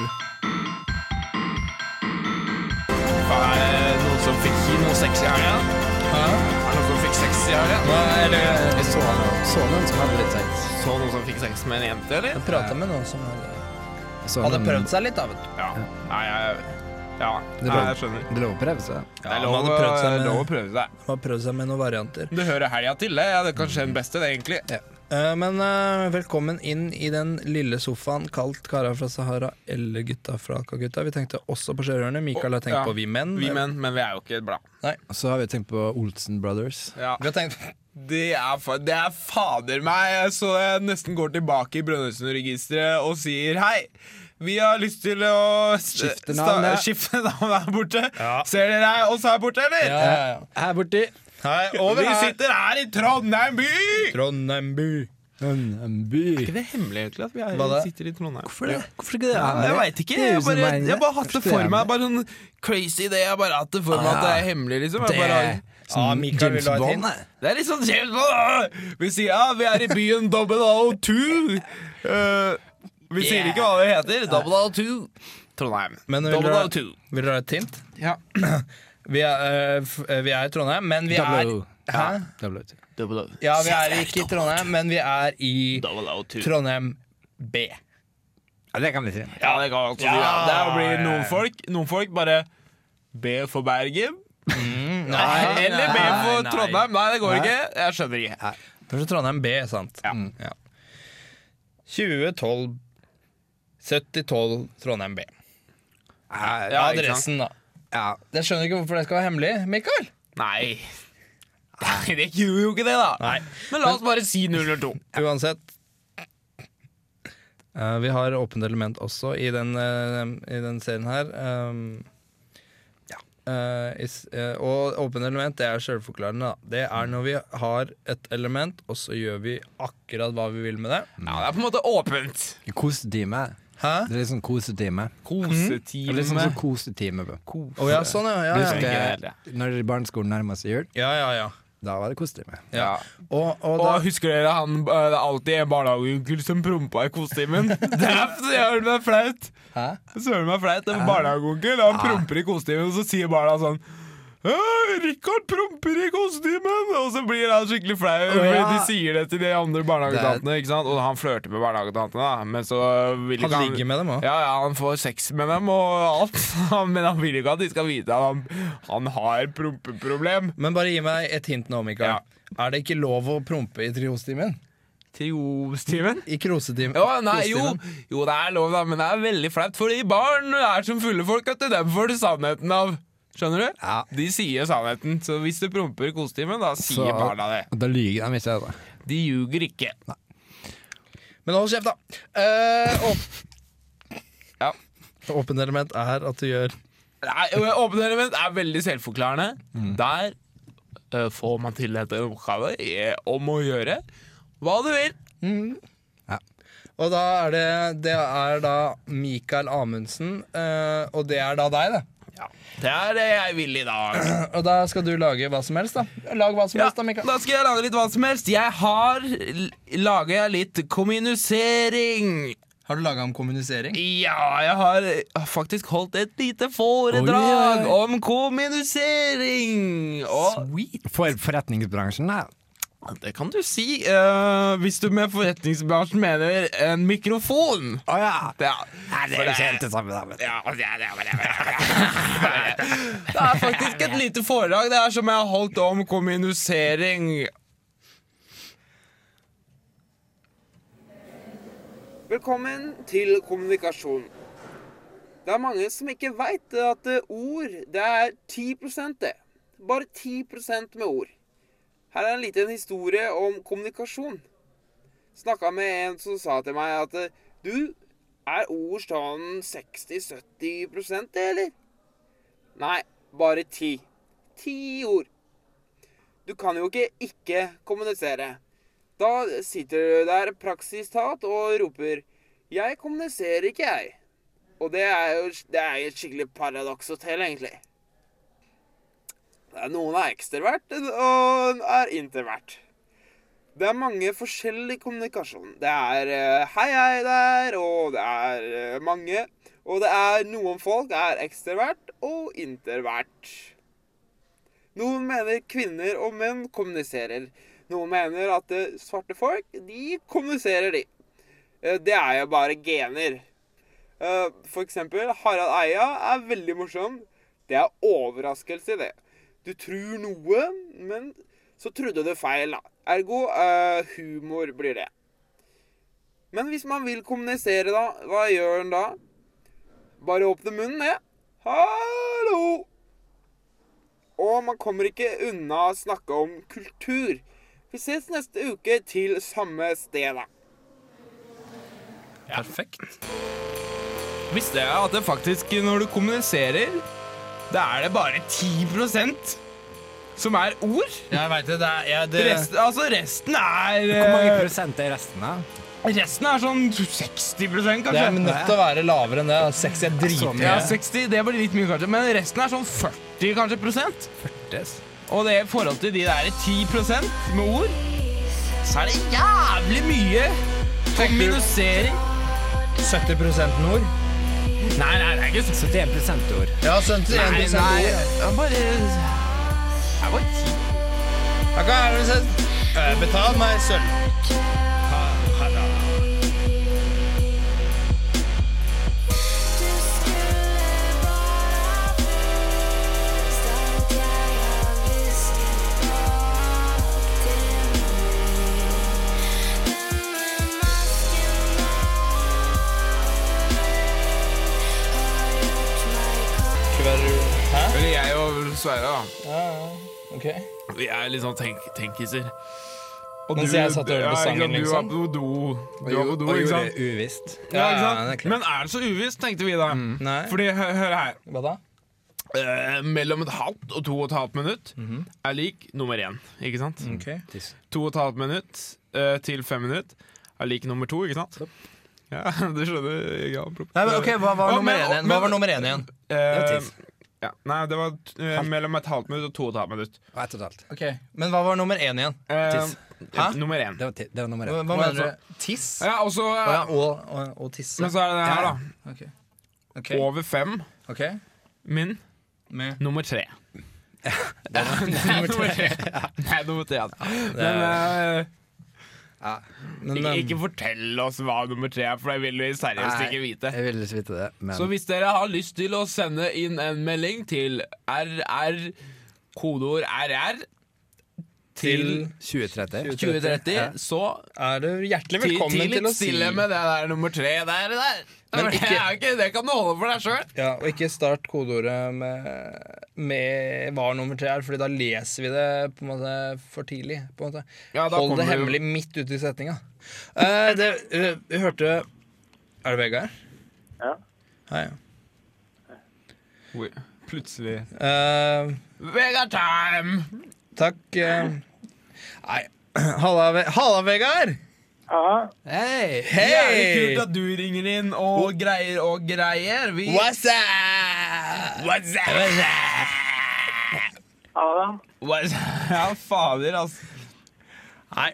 Speaker 2: Faen, Er det noen som fikk noe sex i helga?
Speaker 1: Hæ?
Speaker 2: Er det noen som fikk sex i helga?
Speaker 1: Hva er det
Speaker 3: Jeg så noen, så noen som hadde litt sex.
Speaker 2: Så noen som fikk sex med en jente, eller?
Speaker 1: Jeg prata med noen som hadde,
Speaker 3: Jeg så
Speaker 1: hadde
Speaker 3: noen-
Speaker 1: prøvd seg litt, da. vet du.
Speaker 2: Ja. Nei, jeg, ja.
Speaker 3: Det er
Speaker 2: Nei,
Speaker 3: lov.
Speaker 2: jeg skjønner.
Speaker 3: Det er lov å prøve seg.
Speaker 2: Det er
Speaker 1: han
Speaker 2: lov,
Speaker 1: hadde prøvd seg
Speaker 2: å-
Speaker 1: med-
Speaker 2: lov eh, å prøve seg.
Speaker 1: Har prøvd seg med noen varianter.
Speaker 2: Du hører helga til, det. Ja, det er kanskje den beste, det, egentlig.
Speaker 1: Eh, men eh, velkommen inn i den lille sofaen kalt Kara fra Sahara eller Gutta fra Calcutta. Vi tenkte også på Sjørøverne. Mikael har tenkt
Speaker 2: Ja.
Speaker 1: på Vi Menn.
Speaker 2: Vi menn, men vi er jo ikke et blad.
Speaker 3: Så har vi tenkt på Olsen Brothers.
Speaker 2: Ja.
Speaker 1: Vi har tenkt
Speaker 2: Det er, fa- det er fader meg så jeg nesten går tilbake i Brønnøysundregisteret og sier hei. Vi har lyst til å s-
Speaker 3: Skifte
Speaker 2: sta-
Speaker 3: navn, ja.
Speaker 2: skifte navn her borte. Ser dere deg også her borte, eller?
Speaker 1: <laughs> ja, ja, ja.
Speaker 3: Her borti.
Speaker 1: Eh, Hei, over
Speaker 2: Vi
Speaker 1: her.
Speaker 2: sitter her i Trondheim by!
Speaker 1: Trondheim by.
Speaker 3: En, en by.
Speaker 2: det hemmelig egentlig at vi
Speaker 1: Hva da?
Speaker 2: sitter i Trondheim?
Speaker 3: Hvorfor det? Hvorfor ikke det?
Speaker 2: Jeg veit ikke. Jeg bare, jeg har bare hatt det for meg. Bare sånn crazy idé. Jeg har bare hatt det for meg at det
Speaker 1: Ah,
Speaker 2: er hemmelig, liksom. Jeg bare,
Speaker 1: Ja, Mikael vil ha et hint.
Speaker 2: det er litt sånn James Bond. da. Vi sier ja, vi er i byen 002. Eh, vi sier ikke hva det heter. 002. Trondheim.
Speaker 1: Men vil dere,
Speaker 2: 002.
Speaker 1: vil dere ha et hint?
Speaker 2: Ja.
Speaker 1: Vi er, eh, f- eh, vi er i Trondheim, men vi er
Speaker 3: Double O.
Speaker 1: Hæ? Ja, vi er ikke i Trondheim, men vi er i
Speaker 2: 002.
Speaker 1: Trondheim B.
Speaker 3: Ja, det kan vi si.
Speaker 2: Ja, det kan altså ja, Der blir noen folk Noen folk bare B for Bergen. Eller B for
Speaker 1: nei.
Speaker 2: Trondheim. Nei, det går ikke. Jeg skjønner ikke.
Speaker 1: Kanskje Trondheim B, sant?
Speaker 2: Ja.
Speaker 1: Mm, ja. 2012 7012 Trondheim B.
Speaker 2: Ja, ikke sant?
Speaker 1: Adressen, da.
Speaker 3: Ja.
Speaker 1: Jeg skjønner ikke hvorfor det skal være hemmelig, Mikael.
Speaker 2: Nei. Nei, det gjorde jo ikke det, da.
Speaker 1: Nei. Mm.
Speaker 2: Men la oss bare si 002.
Speaker 1: Uansett. Eh, vi har åpent element også i den, eh, i den serien her. Um, eh, i s- eh, og åpent element det er selvforklarende. Da. Det er når vi har et element, og så gjør vi akkurat hva vi vil med det.
Speaker 2: Ja, det er på en måte åpent.
Speaker 3: Kosetime.
Speaker 1: Hæ?
Speaker 3: Det er litt sånn
Speaker 2: Mm.
Speaker 3: kosetime. Det er
Speaker 2: Kosetime.
Speaker 3: Litt sånn sånn kosetime.
Speaker 1: Å ja, sånn, ja. Ja,
Speaker 3: Du
Speaker 1: ja.
Speaker 3: husker når barneskolen nærmer seg jul?
Speaker 1: ja, ja, ja.
Speaker 3: Da var det kosetime.
Speaker 1: ja. Og, og
Speaker 2: Og
Speaker 1: da,
Speaker 2: husker dere han eh, Det er alltid en barnehageonkel som prompa i
Speaker 1: <laughs>
Speaker 2: kosetimen? Det er søren meg flaut!
Speaker 1: Hæ? Ah.
Speaker 2: Søren meg flaut. En barnehageonkel han promper i kosetimen, og så sier barna sånn «Øy, Rikard promper i kostymen! Og så blir han skikkelig flau. fordi
Speaker 3: ja.
Speaker 2: De sier det til de andre barnehagetantene. ikke sant? Og han flørter med barnehagetantene, da. Men så vil ikke
Speaker 1: han ligger med dem òg.
Speaker 2: Ja, ja, han får sex med dem og alt. <laughs> Men han vil ikke at de skal vite at han, han har prompeproblem.
Speaker 1: Men bare gi meg et hint nå, Mikael.
Speaker 2: Ja.
Speaker 1: Er det ikke lov å prompe i triostimen?
Speaker 2: Triostimen?
Speaker 1: I krosetimen?
Speaker 2: Ja, nei, jo,
Speaker 1: krosetimen?
Speaker 2: jo, det er lov, da, men det er veldig flaut. Fordi barn er som fulle folk, at dem får du sannheten av. Skjønner du?
Speaker 3: Ja.
Speaker 2: De sier sannheten. Så hvis du promper i kosetimen, da sier
Speaker 3: Så-
Speaker 2: barna det.
Speaker 3: Da lyver de ikke. da
Speaker 2: De ljuger ikke.
Speaker 1: Men hold kjeft, da. Eh, åp
Speaker 2: Ja.
Speaker 1: Åpent element er at du gjør
Speaker 2: Nei, Åpne element er veldig selvforklarende.
Speaker 3: Mm.
Speaker 2: Der eh, får man tildelt en oppgave i- om å gjøre hva du vil.
Speaker 1: Og da er det Det er da Mikael Amundsen, eh, og det er da deg, det.
Speaker 2: Det er det jeg vil i dag.
Speaker 3: <clears throat>
Speaker 1: Og da skal du lage hva som helst, da. Lag hva som
Speaker 2: Ja,
Speaker 1: helst, da, Mikael.
Speaker 2: da skal jeg lage litt hva som helst. Jeg har laga litt kommunisering.
Speaker 1: Har du laga om kommunisering?
Speaker 2: Ja, jeg har faktisk holdt et lite foredrag om kommunisering. Og
Speaker 3: For forretningsbransjen, da.
Speaker 2: Det kan du si eh, hvis du med forretningsbransjen mener en mikrofon.
Speaker 3: Å ja.
Speaker 2: Det er,
Speaker 3: Nei, det er jo ikke helt det samme. da, men-
Speaker 2: ja, det er- det er- det er- <laughs> Det er faktisk et lite foredrag det er som jeg har holdt om kommunisering.
Speaker 7: Velkommen til kommunikasjon. Det er mange som ikke veit at eh, ord, det er 10 det. Bare 10 med ord. Her er en liten historie om kommunikasjon. Snakka med en som sa til meg at eh, du, er ord sånn 60-70 det, eller? Nei, bare 10. Ti ord. Du kan jo ikke ikke kommunisere. Da sitter du der praksistat og roper 'Jeg kommuniserer ikke, jeg'. Og det er jo det er jo et skikkelig paradokshotel, egentlig. Det er Noen er ekstrovert, og er introvert. Det er mange forskjellige kommunikasjon. Det er eh, 'hei, hei der', og det er eh, mange. Og det er noen folk er ekstrovert og introvert. Noen mener kvinner og menn kommuniserer. Noen mener at eh, svarte folk, de kommuniserer, de. Eh, Det er jo bare gener. Eh, For eksempel, Harald Eia er veldig morsom. Det er overraskelse, det. Du tror noe, men så trodde du feil, da. Ergo eh, humor blir det. Men hvis man vil kommunisere, da, hva gjør en da? Bare åpne munnen, det. Hallo! Og man kommer ikke unna å snakke om kultur. Vi ses neste uke til samme sted, da.
Speaker 2: Perfekt. Visste jeg at det faktisk, når du kommuniserer, da er det bare 10 som er ord.
Speaker 1: Jeg veit det. Det er jeg, det,
Speaker 2: Resten, altså resten er
Speaker 3: Hvor mange
Speaker 2: eh,
Speaker 3: prosent er resten, da?
Speaker 2: Resten er sånn 60
Speaker 1: det
Speaker 2: kanskje.
Speaker 1: er nødt til å være lavere enn det. da. 60 er
Speaker 3: Så mye.
Speaker 2: Ja,
Speaker 1: dritmye.
Speaker 2: 60, det blir litt mye kanskje, men resten er sånn 40 kanskje prosent. Og det i forhold til de der 10 prosent med ord, så er det jævlig mye kommunisering.
Speaker 1: 70 nord.
Speaker 2: Nei, nei, det er ikke så
Speaker 3: 71 ord.
Speaker 1: Ja, 71
Speaker 2: Nei,
Speaker 1: nord.
Speaker 2: nei,
Speaker 1: ja.
Speaker 2: det er bare... Det er bare 10.
Speaker 1: Da kan jeg vel si, eh, Betal meg sølv.
Speaker 2: Eller jeg og Sverre, da. Vi er litt sånn tenk tenkiser. Og
Speaker 1: Mens jeg satt og hørte på sangen, liksom.
Speaker 2: Du var på do, du var på do
Speaker 3: Og
Speaker 2: ikke
Speaker 3: gjorde
Speaker 2: sant?
Speaker 3: uvisst.
Speaker 1: Ja,
Speaker 2: Ja, ikke
Speaker 1: ja, det er
Speaker 2: sant?
Speaker 1: klart. Mm.
Speaker 2: Men er det så uvisst, tenkte vi da.
Speaker 1: Nei.
Speaker 2: Fordi, hø- hør her.
Speaker 1: Hva da?
Speaker 2: Eh, mellom et halvt og to og et halvt minutt
Speaker 1: Mhm.
Speaker 2: er lik nummer én, ikke sant?
Speaker 1: Mm.
Speaker 2: To og et halvt minutt eh, til fem minutt er lik nummer to, ikke sant? Ja, <laughs> du skjønner. Jeg har
Speaker 1: Nei, men, ok, hva var,
Speaker 2: Ja,
Speaker 1: nummer
Speaker 2: men-
Speaker 1: én igjen?
Speaker 2: men-
Speaker 1: hva var nummer én igjen?
Speaker 2: Eh,
Speaker 3: tiss.
Speaker 2: ja. Nei, det var eh, mellom et halvt minutt og to og et halvt minutt.
Speaker 3: Og ett og et halvt.
Speaker 1: Men hva var nummer én igjen?
Speaker 2: Eh,
Speaker 3: Tiss.
Speaker 1: Hæ?
Speaker 2: Nummer én.
Speaker 3: Det var, ti- det var nummer
Speaker 1: Hva,
Speaker 3: ett.
Speaker 1: hva
Speaker 2: Hva er
Speaker 1: mener du? Tiss?
Speaker 2: Ja, og så
Speaker 1: Å ja, og, og, og tisse.
Speaker 2: Men så er det det her, da.
Speaker 1: Ok. Ok.
Speaker 2: Over fem.
Speaker 1: ok.
Speaker 2: Min.
Speaker 1: Med.
Speaker 2: Nummer tre. <laughs>
Speaker 1: <laughs>
Speaker 2: nummer tre. Nei, nummer tre. altså. Men eh,
Speaker 1: Men,
Speaker 2: ikke,
Speaker 1: eh,
Speaker 2: ikke fortell oss hva nummer tre er, for det vil vi seriøst
Speaker 3: Nei.
Speaker 2: ikke vite.
Speaker 3: Jeg ville ikke vite det, men
Speaker 2: Så hvis dere har lyst til å sende inn en melding til RR, kodeord RR, til
Speaker 3: 2030
Speaker 2: 2030, så
Speaker 1: er du hjertelig
Speaker 2: ti,
Speaker 1: velkommen
Speaker 2: ti
Speaker 1: til,
Speaker 2: litt
Speaker 1: å si
Speaker 2: stille med det der nummer tre der. der.
Speaker 1: Men
Speaker 2: det, er
Speaker 1: ikke-
Speaker 2: ikke, det kan du holde for deg sjøl.
Speaker 1: Ja, Og ikke start kodeordet med, med hva nummer tre er, Fordi da leser vi det på en måte for tidlig. På en måte.
Speaker 2: Ja, da
Speaker 1: Hold det
Speaker 2: kommer vi-
Speaker 1: hemmelig midt ute i setninga. <laughs> Eh, det, eh, vi hørte Er det Vegard?
Speaker 8: Ja.
Speaker 1: Hei.
Speaker 2: Plutselig
Speaker 1: Eh,
Speaker 2: Vegard time!
Speaker 1: takk. eh, nei. <clears throat> Halla, Ve- Halla, Vegard!
Speaker 8: Ja,
Speaker 1: Hei!
Speaker 2: Jævlig kult at du ringer inn og greier og greier. Vi
Speaker 1: What's up?
Speaker 2: What's up? What's up?
Speaker 8: Adam.
Speaker 2: Ja, fader, altså.
Speaker 1: Nei.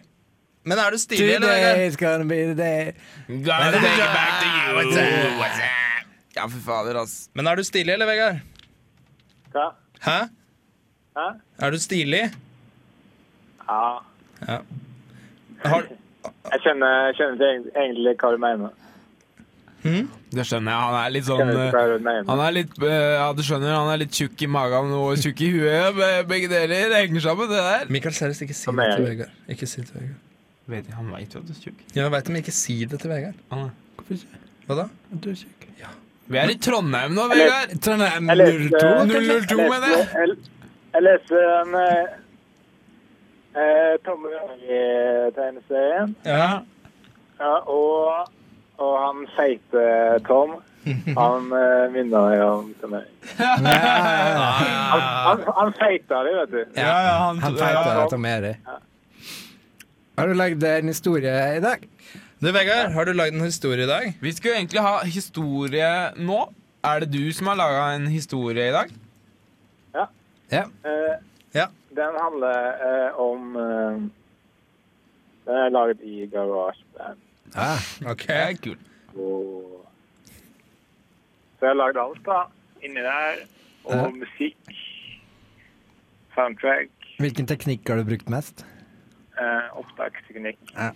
Speaker 1: Men er du stilig, eller? Vegard?
Speaker 3: Today's gonna be the day
Speaker 2: God, take it back to you. What's up? What's up? Ja, for fader, altså.
Speaker 1: Men er du stilig, eller, Vegard?
Speaker 8: Ja.
Speaker 1: Hæ?
Speaker 8: Hæ?
Speaker 1: Er du stilig?
Speaker 8: Ja.
Speaker 1: Har,
Speaker 8: Jeg skjønner, jeg skjønner ikke egentlig hva du mener.
Speaker 2: Det skjønner jeg. Han er litt sånn
Speaker 8: Skjønner ikke hva
Speaker 2: eh,
Speaker 8: du mener.
Speaker 2: Han er litt eh, Ja, du skjønner, han er litt tjukk i magen og tjukk i huet. eh, Be- Begge deler det henger sammen, det der.
Speaker 1: Mikael, seriøst, ikke si
Speaker 8: Kom
Speaker 1: det
Speaker 8: igjen.
Speaker 1: til Vegard. Ikke si det til Vegard.
Speaker 2: Vet jeg, han veit jo at du er tjukk.
Speaker 1: Ja, jeg vet det, men ikke si det til Vegard.
Speaker 2: Han er-
Speaker 1: Hva da?
Speaker 2: Vi er i Trondheim nå, Vegard.
Speaker 1: Trondheim
Speaker 8: Jeg leste-
Speaker 1: 02?
Speaker 2: 002, mener jeg.
Speaker 8: jeg. Jeg leste den eh, eh, Tom Rønning-tegneserien,
Speaker 1: Ja.
Speaker 8: ja, og, og han feite Tom. Han eh, minner meg om til meg. Han, han, han feita det, vet du.
Speaker 2: Ja, ja, han,
Speaker 3: Han
Speaker 2: ja,
Speaker 3: feiter dette med deg. eh. Har du lagd eh, en historie i dag?
Speaker 1: Du, Vegard, har du lagd en historie i dag?
Speaker 2: Vi skulle egentlig ha historie nå. Er det du som har laga en historie i dag?
Speaker 3: Ja.
Speaker 8: Eh,
Speaker 1: Ja.
Speaker 8: Den handler eh, om eh, Den er laget i garasjeband.
Speaker 3: Ah,
Speaker 1: Ok.
Speaker 2: kult.
Speaker 8: Og... Så jeg har lagd alt da, inni der. Og musikk, soundtrack,
Speaker 3: hvilken teknikk har du brukt mest?
Speaker 8: eh, opptaksteknikk.
Speaker 3: Ja.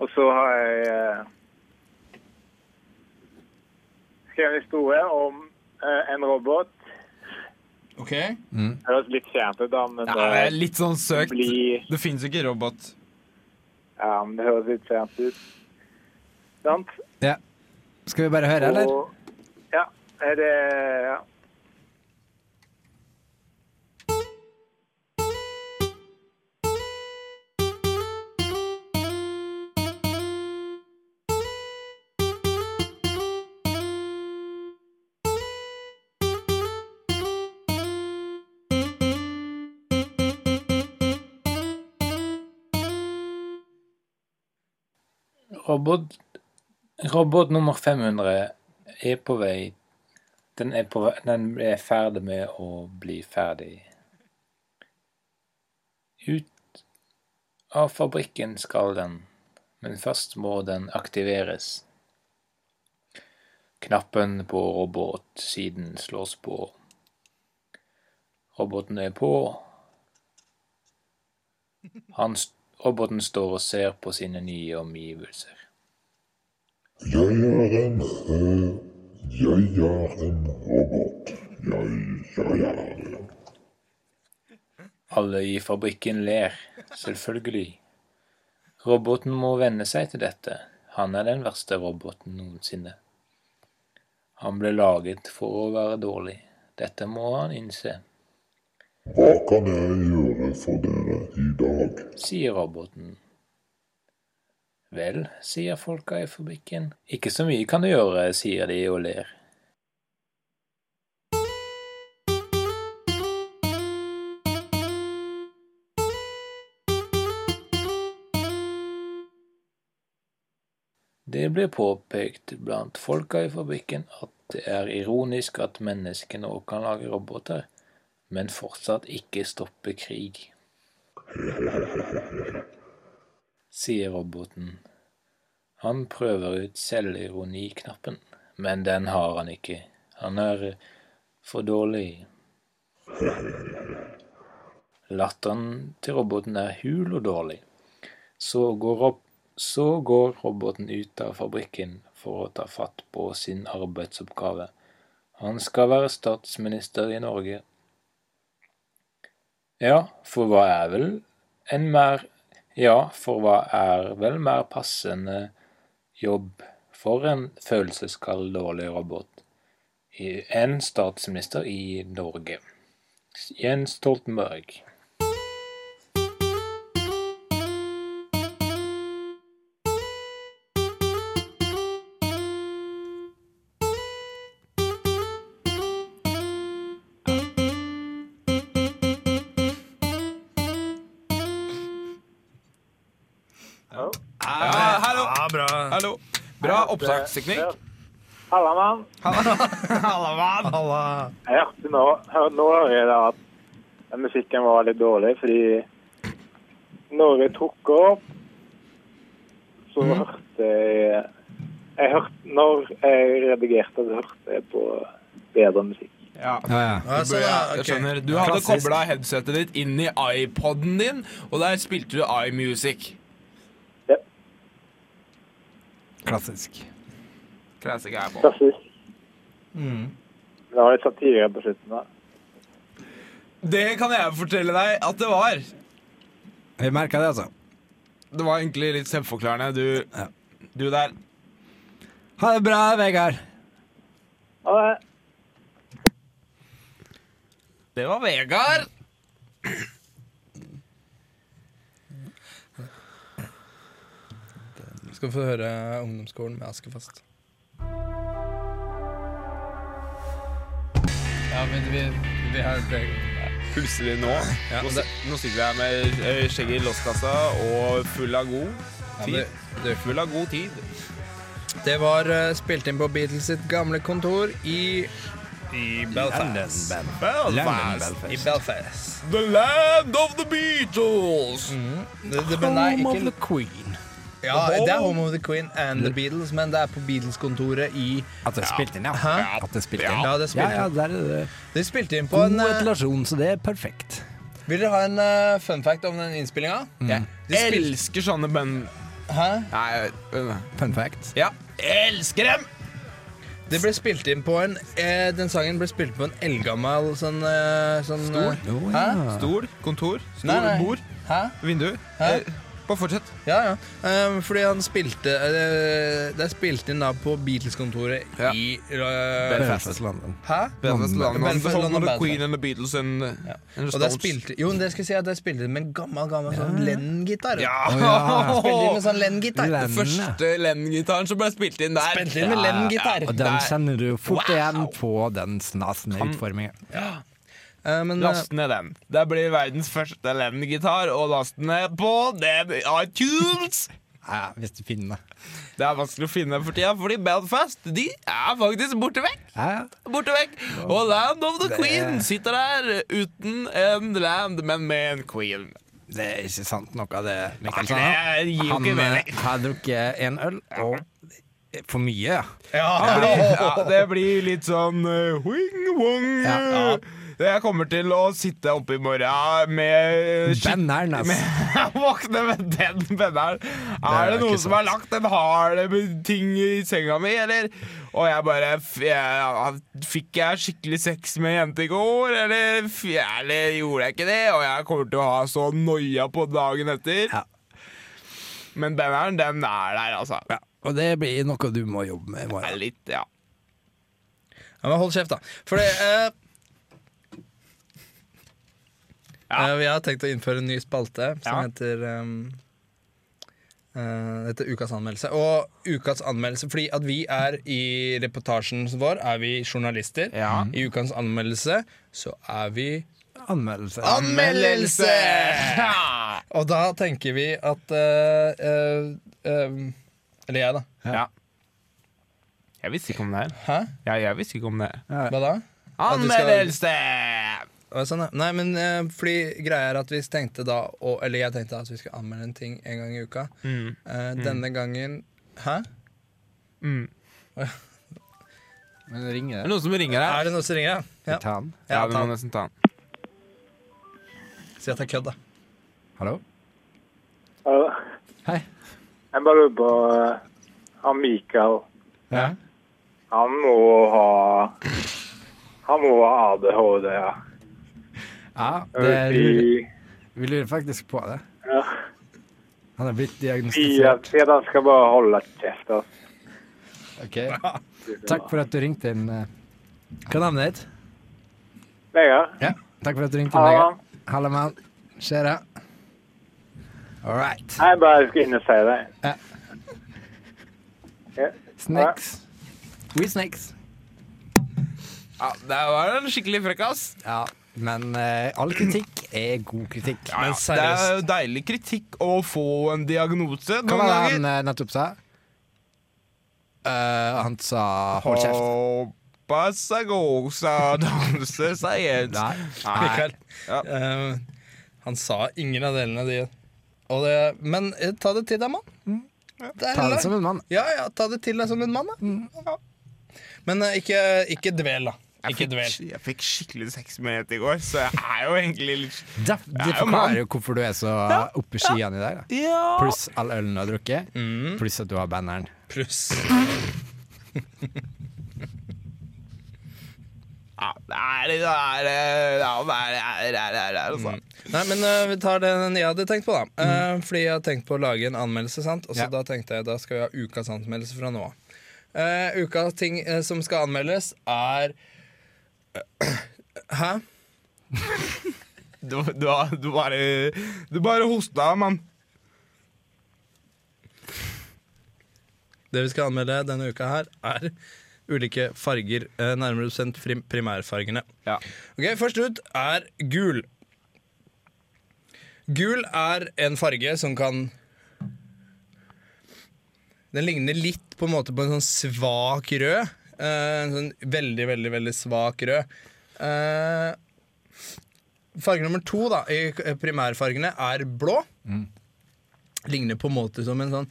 Speaker 8: Og så har jeg eh, skrevet en historie om eh, en robot.
Speaker 1: Ok.
Speaker 8: Det høres litt kjent ut, da, men eh,
Speaker 2: Ja,
Speaker 8: det,
Speaker 2: det er litt sånn søkt.
Speaker 8: blir
Speaker 2: Det fins jo ikke robot.
Speaker 8: Ja, men det høres litt sent ut. Sant?
Speaker 3: Skal vi bare høre, eller?
Speaker 8: Og- Ja. Er det ja.
Speaker 9: Robot, robot nummer 500 er på vei. Den er, på vei, den er ferdig med å bli ferdig. Ut av fabrikken skal den, men først må den aktiveres. Knappen på robotsiden slås på. Roboten er på. Han, st- roboten står og ser på sine nye omgivelser.
Speaker 4: Jeg er en eh, Jeg er en robot. Jeg, jeg er en
Speaker 9: Alle i fabrikken ler, selvfølgelig. Roboten må venne seg til dette. Han er den verste roboten noensinne. Han ble laget for å være dårlig. Dette må han innse,
Speaker 4: Hva kan jeg gjøre for dere i dag?
Speaker 9: sier roboten. Vel, sier folka i fabrikken. Ikke så mye kan du gjøre, sier de og ler. Det blir påpekt blant folka i fabrikken at det er ironisk at menneskene òg kan lage roboter, men fortsatt ikke stoppe krig. Sier roboten. Han prøver ut selvironiknappen, men den har han ikke. Han er for dårlig. Latteren til roboten er hul og dårlig. Så går, opp, så går roboten ut av fabrikken for å ta fatt på sin arbeidsoppgave. Han skal være statsminister i Norge. Ja, for hva er vel en mer Ja, for hva er vel mer passende jobb for en følelseskald, dårlig robot i- enn statsminister i Norge? Jens Stoltenberg.
Speaker 3: Ah.
Speaker 2: Ja, hallo.
Speaker 1: Ja, bra.
Speaker 2: Hallo. Bra opptaksteknikk.
Speaker 8: Halla, mann.
Speaker 1: Halla.
Speaker 8: Jeg hørte nå, hør, nå hører jeg da at den musikken var litt dårlig, fordi når jeg tok opp, så hørte jeg, jeg hørte, Når jeg redigerte, så hørte jeg på bedre musikk.
Speaker 2: Ja.
Speaker 3: Ja, ja.
Speaker 2: Det bør jeg- jeg skjønner. Du hadde
Speaker 3: Klassisk.
Speaker 2: kobla headsetet ditt inn i iPoden din, og der spilte du iMusic.
Speaker 8: Jep.
Speaker 3: Klassisk.
Speaker 2: Classic iPod.
Speaker 8: Klassisk.
Speaker 3: Mm.
Speaker 8: Det var litt satire på slutten der.
Speaker 2: Det kan jeg fortelle deg at det var.
Speaker 3: Jeg merka det, altså.
Speaker 2: Det var egentlig litt selvforklarende.
Speaker 3: Ja.
Speaker 2: Du, du der.
Speaker 3: Ha det bra, Vegard.
Speaker 8: Ha det.
Speaker 2: Det var Vegard.
Speaker 1: Skal få høre ungdomsskolen med Askefast. Ja, men vi, vi har
Speaker 2: Pulser vi nå?
Speaker 1: Ja,
Speaker 2: nå,
Speaker 1: det-
Speaker 2: si- nå sitter vi her med eh, skjegget i losskassa og full av god tid.
Speaker 1: det- det-
Speaker 2: full av god tid.
Speaker 1: Det var eh, spilt inn på Beatles sitt gamle kontor i I Belfast.
Speaker 2: Belfast.
Speaker 1: I Belfast.
Speaker 2: The land of the Beatles!
Speaker 1: Det, det, men nei, ikke the Queen. Ja, det er Home of the Queen and the Beatles, men det er på Beatles-kontoret i
Speaker 3: At det er spilt inn, ja.
Speaker 1: Hæ?
Speaker 3: At det er spilt inn.
Speaker 1: Ja, det er
Speaker 3: Ja,
Speaker 1: spilt
Speaker 3: ja,
Speaker 1: inn.
Speaker 3: der er det
Speaker 1: De spilte inn på
Speaker 3: god
Speaker 1: en eh,
Speaker 3: ventilasjon, så det er perfekt.
Speaker 1: Vil dere ha en eh, fun fact om den innspillinga?
Speaker 3: Mm.
Speaker 1: De
Speaker 2: Jeg
Speaker 1: spil-
Speaker 2: elsker sånne bønn...
Speaker 1: Hæ?
Speaker 2: Nei, jeg vet ikke.
Speaker 3: Fun fact.
Speaker 2: ja. Jeg elsker dem!
Speaker 1: Det ble spilt inn på en eh, Den sangen ble spilt på en eldgammel sånn, eh, sånn eh,
Speaker 3: Jo,
Speaker 1: Hæ?
Speaker 3: ja.
Speaker 2: Stol, kontor, stol,
Speaker 1: Nei, nei.
Speaker 2: bord,
Speaker 1: Hæ?
Speaker 2: vindu.
Speaker 1: Hæ?
Speaker 2: Eh, Bare fortsett.
Speaker 1: Ja, ja. Eh, fordi han spilte eh, Det er spilt inn da på Beatles-kontoret
Speaker 2: Ja.
Speaker 1: i eh,
Speaker 3: Belfast, London.
Speaker 1: Hæ?
Speaker 2: Belfast, London,
Speaker 1: Belfast,
Speaker 2: The Home
Speaker 1: London,
Speaker 2: of the
Speaker 1: Belfast.
Speaker 2: Queen and the Beatles and, and the
Speaker 1: Og der
Speaker 2: Stones.
Speaker 1: spilte Jo, men det skal jeg si at der spilte de med en gammel, gammel sånn Lennon-gitar.
Speaker 2: Ja!
Speaker 3: ja.
Speaker 1: Spilte de med sånn Lennon-gitar.
Speaker 3: Lennon.
Speaker 2: Første Lennon-gitaren som ble spilt inn der.
Speaker 1: Spilte de med Lennon-gitar.
Speaker 3: Og den
Speaker 2: Nei.
Speaker 3: kjenner du fort
Speaker 2: Wow.
Speaker 3: igjen på den snasende utformingen.
Speaker 1: Eh, men, eh,
Speaker 2: Last ned den. Det blir verdens første Lennon-gitar, og last den ned på den iTunes!
Speaker 3: Ja, hvis du finner det.
Speaker 2: Det er vanskelig å finne for tida, fordi Belfast de er faktisk borte vekk.
Speaker 3: Ja, ja.
Speaker 2: Borte vekk. Og Land of the Queen sitter der uten en land, men med en queen.
Speaker 3: Det er ikke sant noe av det Mikkelsen har.
Speaker 2: Nei, det gir jo
Speaker 3: Altså, Han
Speaker 2: ikke mening.
Speaker 3: eh, har drukket en øl, og for mye, ja.
Speaker 2: Det blir, ja, det blir litt sånn eh, wing-wong.
Speaker 3: Ja.
Speaker 2: Jeg kommer til å sitte oppe i morgen med skitt-
Speaker 3: Benneren, altså.
Speaker 2: Jeg <laughs> våkner med den penneren. Er
Speaker 3: er
Speaker 2: det noen
Speaker 3: ikke
Speaker 2: som har lagt en hard ting i senga mi, eller? Og jeg bare f- jeg, Fikk jeg skikkelig sex med en jente i går, eller, f- eller gjorde jeg ikke det? Og jeg kommer til å ha så noia på dagen etter.
Speaker 3: Ja.
Speaker 2: Men penneren, den er der, altså.
Speaker 3: Ja. Og det blir noe du må jobbe med i
Speaker 2: Det er
Speaker 3: morgen.
Speaker 2: Litt, ja.
Speaker 1: ja, men hold kjeft, da. For det eh, eh, Vi har tenkt å innføre en ny spalte som
Speaker 2: Ja.
Speaker 1: heter ehm, eh, dette er ukas anmeldelse. Og ukas anmeldelse Fordi at vi er i reportasjen vår er vi journalister.
Speaker 2: Ja.
Speaker 1: I ukas anmeldelse så er vi
Speaker 3: Anmeldelse.
Speaker 8: Ah!
Speaker 1: Anmeldelse!
Speaker 2: <laughs> Ja.
Speaker 1: Og da tenker vi at eh, eh, eh, Eller jeg, da.
Speaker 2: ja. Jeg visste ikke om det her.
Speaker 1: Hæ?
Speaker 2: Ja, jeg visste ikke om det.
Speaker 1: Hva da? At vi skal-
Speaker 2: Anmeldelse!
Speaker 1: Og Sånn, ja. Nei, men eh, fordi greia er at vi tenkte da og, Eller jeg tenkte at vi skulle anmelde en ting en gang i uka.
Speaker 2: Mm.
Speaker 1: Eh, Denne gangen Hæ?
Speaker 2: Mm.
Speaker 3: Men ringer
Speaker 2: Er det noen som ringer her?
Speaker 1: Er det noen som ringer? Ja.
Speaker 3: Ta han.
Speaker 1: Ja,
Speaker 2: Ja, vi
Speaker 1: ta
Speaker 2: må
Speaker 1: den.
Speaker 2: nesten ta den.
Speaker 1: Si at det er kødd, da.
Speaker 3: Hallo?
Speaker 8: Hallo.
Speaker 3: Hei.
Speaker 8: Jeg bare lurer på eh, han Mikael.
Speaker 3: Ja.
Speaker 8: Han må ha Han må ha ADHD, ja.
Speaker 3: ja det
Speaker 8: Over
Speaker 3: vi,
Speaker 8: ti-
Speaker 3: vi lurer faktisk på det.
Speaker 8: ja.
Speaker 3: Han er blitt
Speaker 8: ti av
Speaker 3: diagnostisert.
Speaker 8: tre, da skal bare holde kjeft. ass.
Speaker 3: Ok. Takk for at du ringte inn. eh. Hva er navnet ditt?
Speaker 8: Vegard?
Speaker 3: Ja. Takk for at du ringte inn.
Speaker 8: Hallo.
Speaker 3: Vegard. Hallo, mann. Skjer det? All right.
Speaker 8: Nei, jeg bare skulle inn og si det.
Speaker 3: Ja.
Speaker 8: Ja.
Speaker 3: Snakes. We snakes.
Speaker 2: Ja, det var en skikkelig frekkas.
Speaker 3: Ja, men eh, all kritikk er god kritikk.
Speaker 1: Men
Speaker 2: Det er jo
Speaker 1: seriøst.
Speaker 2: deilig kritikk å få en diagnose
Speaker 3: Hva
Speaker 2: noen
Speaker 3: var det
Speaker 2: ganger.
Speaker 3: han eh, nettopp sa? Eh, han sa hold kjeft.
Speaker 2: Hoppa seg gåsa, danse seg et.
Speaker 3: Nei.
Speaker 1: Mikael.
Speaker 2: Ja.
Speaker 1: Eh, han sa ingen av delene, de. Og det, men eh, ta det til deg, mann. Det er
Speaker 3: Ta det
Speaker 1: lov.
Speaker 3: som en mann.
Speaker 1: Ja, ja, ta det til deg som en mann, da. Ja. Men eh, ikke, ikke dvel, da.
Speaker 2: Jeg
Speaker 1: Ikke
Speaker 2: fikk,
Speaker 1: dvel.
Speaker 2: sk- jeg fikk skikkelig sexmenighet i går, så jeg er jo egentlig litt
Speaker 3: Det, det
Speaker 2: Jeg er jo mann.
Speaker 3: forklarer jo hvorfor du er så oppe i skyene i dag. da.
Speaker 2: Ja.
Speaker 3: Pluss all ølen du har drukket, pluss at du har <laughs> banneren.
Speaker 1: Pluss.
Speaker 2: Ja, det er det er det ja, det er det er det er det er det, altså.
Speaker 1: Nei, men eh, vi tar den jeg hadde tenkt på, da.
Speaker 2: Mm.
Speaker 1: Eh, fordi jeg hadde tenkt på å lage en anmeldelse, sant. Og så
Speaker 3: Ja.
Speaker 1: da tenkte jeg da skal vi ha ukas anmeldelse fra nå av. Eh, ukas ting eh, som skal anmeldes, er eh, <clears throat> Hæ?
Speaker 2: <laughs> Du, du, har- du bare Du bare hosta, mann.
Speaker 1: Det vi skal anmelde denne uka her, er ulike farger. eh, Nærmere bestemt frim- primærfargene.
Speaker 2: Ja.
Speaker 1: Ok, Først ut er gul. Gul er en farge som kan Den ligner litt på en måte på en sånn svak rød. Eh, En sånn veldig, veldig, veldig svak rød. Eh, Farge nummer to da, i k- primærfargene er blå. Ligner på en måte som en sånn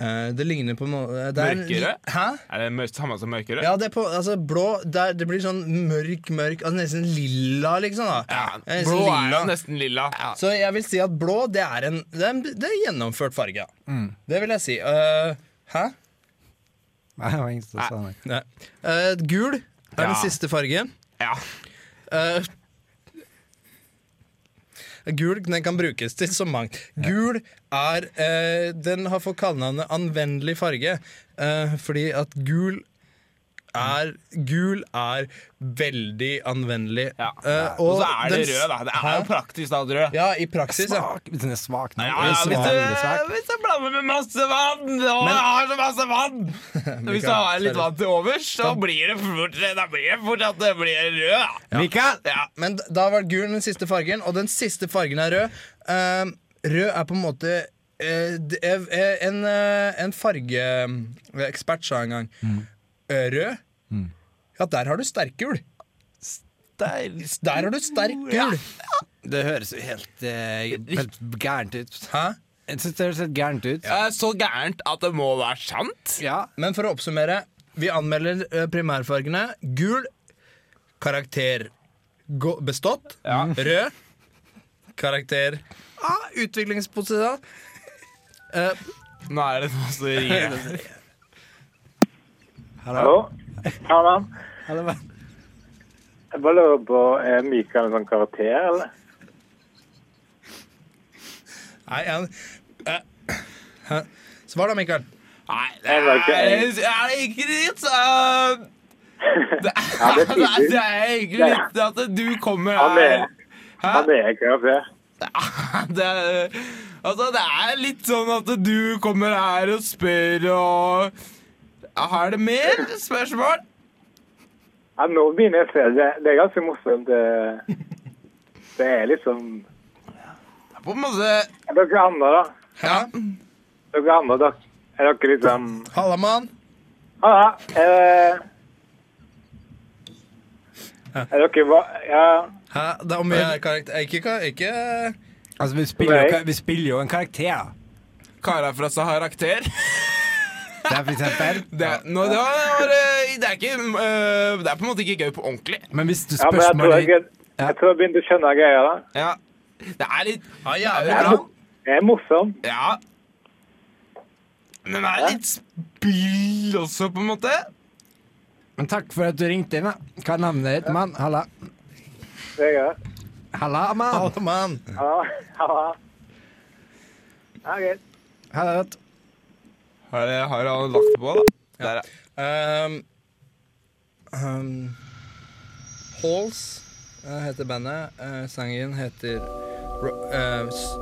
Speaker 1: eh, Det ligner på en måte det er en li-
Speaker 2: Mørkere?
Speaker 1: Hæ?
Speaker 2: Er det mør- samme som mørkere?
Speaker 1: Ja, det er på, altså blå der, Det blir sånn mørk, mørk altså Nesten lilla, liksom. da
Speaker 2: Ja,
Speaker 1: Det er nesten
Speaker 2: Blå er
Speaker 1: lilla.
Speaker 2: jo nesten lilla.
Speaker 1: Så jeg vil si at blå, det er en Det er en, det er en gjennomført farge. da.
Speaker 2: Mm.
Speaker 1: Det vil jeg si. Eh, hæ?
Speaker 3: Nei, det var ingen som sa nei.
Speaker 1: Nei. Eh, gul er
Speaker 2: Ja.
Speaker 1: den siste fargen.
Speaker 2: Ja.
Speaker 1: Eh, Gul den kan brukes til så mangt. Gul er eh, Den har fått kallenavnet anvendelig farge eh, fordi at gul er Gul er veldig anvendelig.
Speaker 2: Ja.
Speaker 1: Eh,
Speaker 2: Og så er det
Speaker 1: den s-
Speaker 2: rød, da. Det er jo
Speaker 1: Hæ?
Speaker 2: praktisk da, rød.
Speaker 1: Ja, i praksis, ja.
Speaker 3: Svak, hvis den er svak nå.
Speaker 2: Ja,
Speaker 3: den
Speaker 2: ja,
Speaker 3: er så
Speaker 2: hvis,
Speaker 3: veldig
Speaker 2: du,
Speaker 3: svak.
Speaker 2: hvis du blander med masse vann Å, jeg har så masse vann! Hvis du har litt vann til overs, så blir det fort, da blir det fort at det blir rød. Ja.
Speaker 3: Mikael!
Speaker 2: Ja.
Speaker 1: Men d- da var gul den siste fargen, og den siste fargen er rød. Ehm, rød er på en måte eh, det er- er En, eh, en fargeekspert sa en gang eh, Rød? Ja, der har du sterkgul. Der har du sterkgul.
Speaker 3: Det høres jo helt, eh, helt gærent ut.
Speaker 1: Hæ?
Speaker 3: Jeg syns det høres helt gærent ut.
Speaker 2: Det er så gærent at det må være sant.
Speaker 3: Ja.
Speaker 1: Men for å oppsummere, vi anmelder eh, primærfargene. Gul karakter gå- bestått. Rød karakter ah, utviklingspotensial. Eh,
Speaker 2: Nå er det noe som rir.
Speaker 8: Hallo? Hallo?
Speaker 3: Eller hva?
Speaker 8: Jeg bare lurer på, er Mikael en sånn karakter, eller?
Speaker 1: Nei, jeg, eh, hæ? Svar da, Mikael.
Speaker 2: Nei, det
Speaker 8: Jeg var
Speaker 2: er,
Speaker 8: ikke-
Speaker 2: er det ikke litt så
Speaker 8: <laughs> Ja, det er
Speaker 2: Nei,
Speaker 8: tydelig.
Speaker 2: det er egentlig litt at du kommer
Speaker 8: Han er,
Speaker 2: her.
Speaker 8: han er en karakter.
Speaker 2: <laughs> Det er, altså, det er litt sånn at du kommer her og spør og Har det mer spørsmål?
Speaker 8: Ja, nå begynner jeg å se. Det, det er ganske morsomt. Det, det er liksom
Speaker 2: På en måte
Speaker 8: Dere andre, da.
Speaker 1: Ja.
Speaker 8: Dere andre, dere. Er dere liksom Eh.
Speaker 1: Halla, mann.
Speaker 8: Halla! Er det Er dere hva Ja.
Speaker 1: Hæ? Det er om vi er karakter... Ikke, ka- ikke
Speaker 3: Altså, vi spiller, jo,
Speaker 8: Nei.
Speaker 3: vi spiller jo en karakter, da.
Speaker 2: Kara fra Sahara Kter.
Speaker 3: Det er for eksempel.
Speaker 2: Det, nå, det, var, eh, det, er ikke, eh, det er på en måte ikke gøy på ordentlig.
Speaker 3: Men hvis du
Speaker 8: ja men jeg tror
Speaker 3: spørsmålet
Speaker 8: jeg, jeg tror jeg begynte å skjønne greier, da.
Speaker 2: Ja. Det er litt
Speaker 1: Ja, jævlig
Speaker 8: Det er,
Speaker 1: bra.
Speaker 8: mo- det er morsomt.
Speaker 2: Ja. Men det er litt spill også, på en måte.
Speaker 3: Men takk for at du ringte inn, da. Hva er navnet ditt, mann? Halla.
Speaker 8: Det er greit.
Speaker 3: Halla, mann.
Speaker 1: Halla, mann.
Speaker 8: Halla. Halla. Ja, greit.
Speaker 3: Halla. vet du.
Speaker 2: Har, det- har han lagt det på, da? Der, ja.
Speaker 1: Um, um, Halls eh, heter bandet. Eh, sangen heter Ro- eh, s-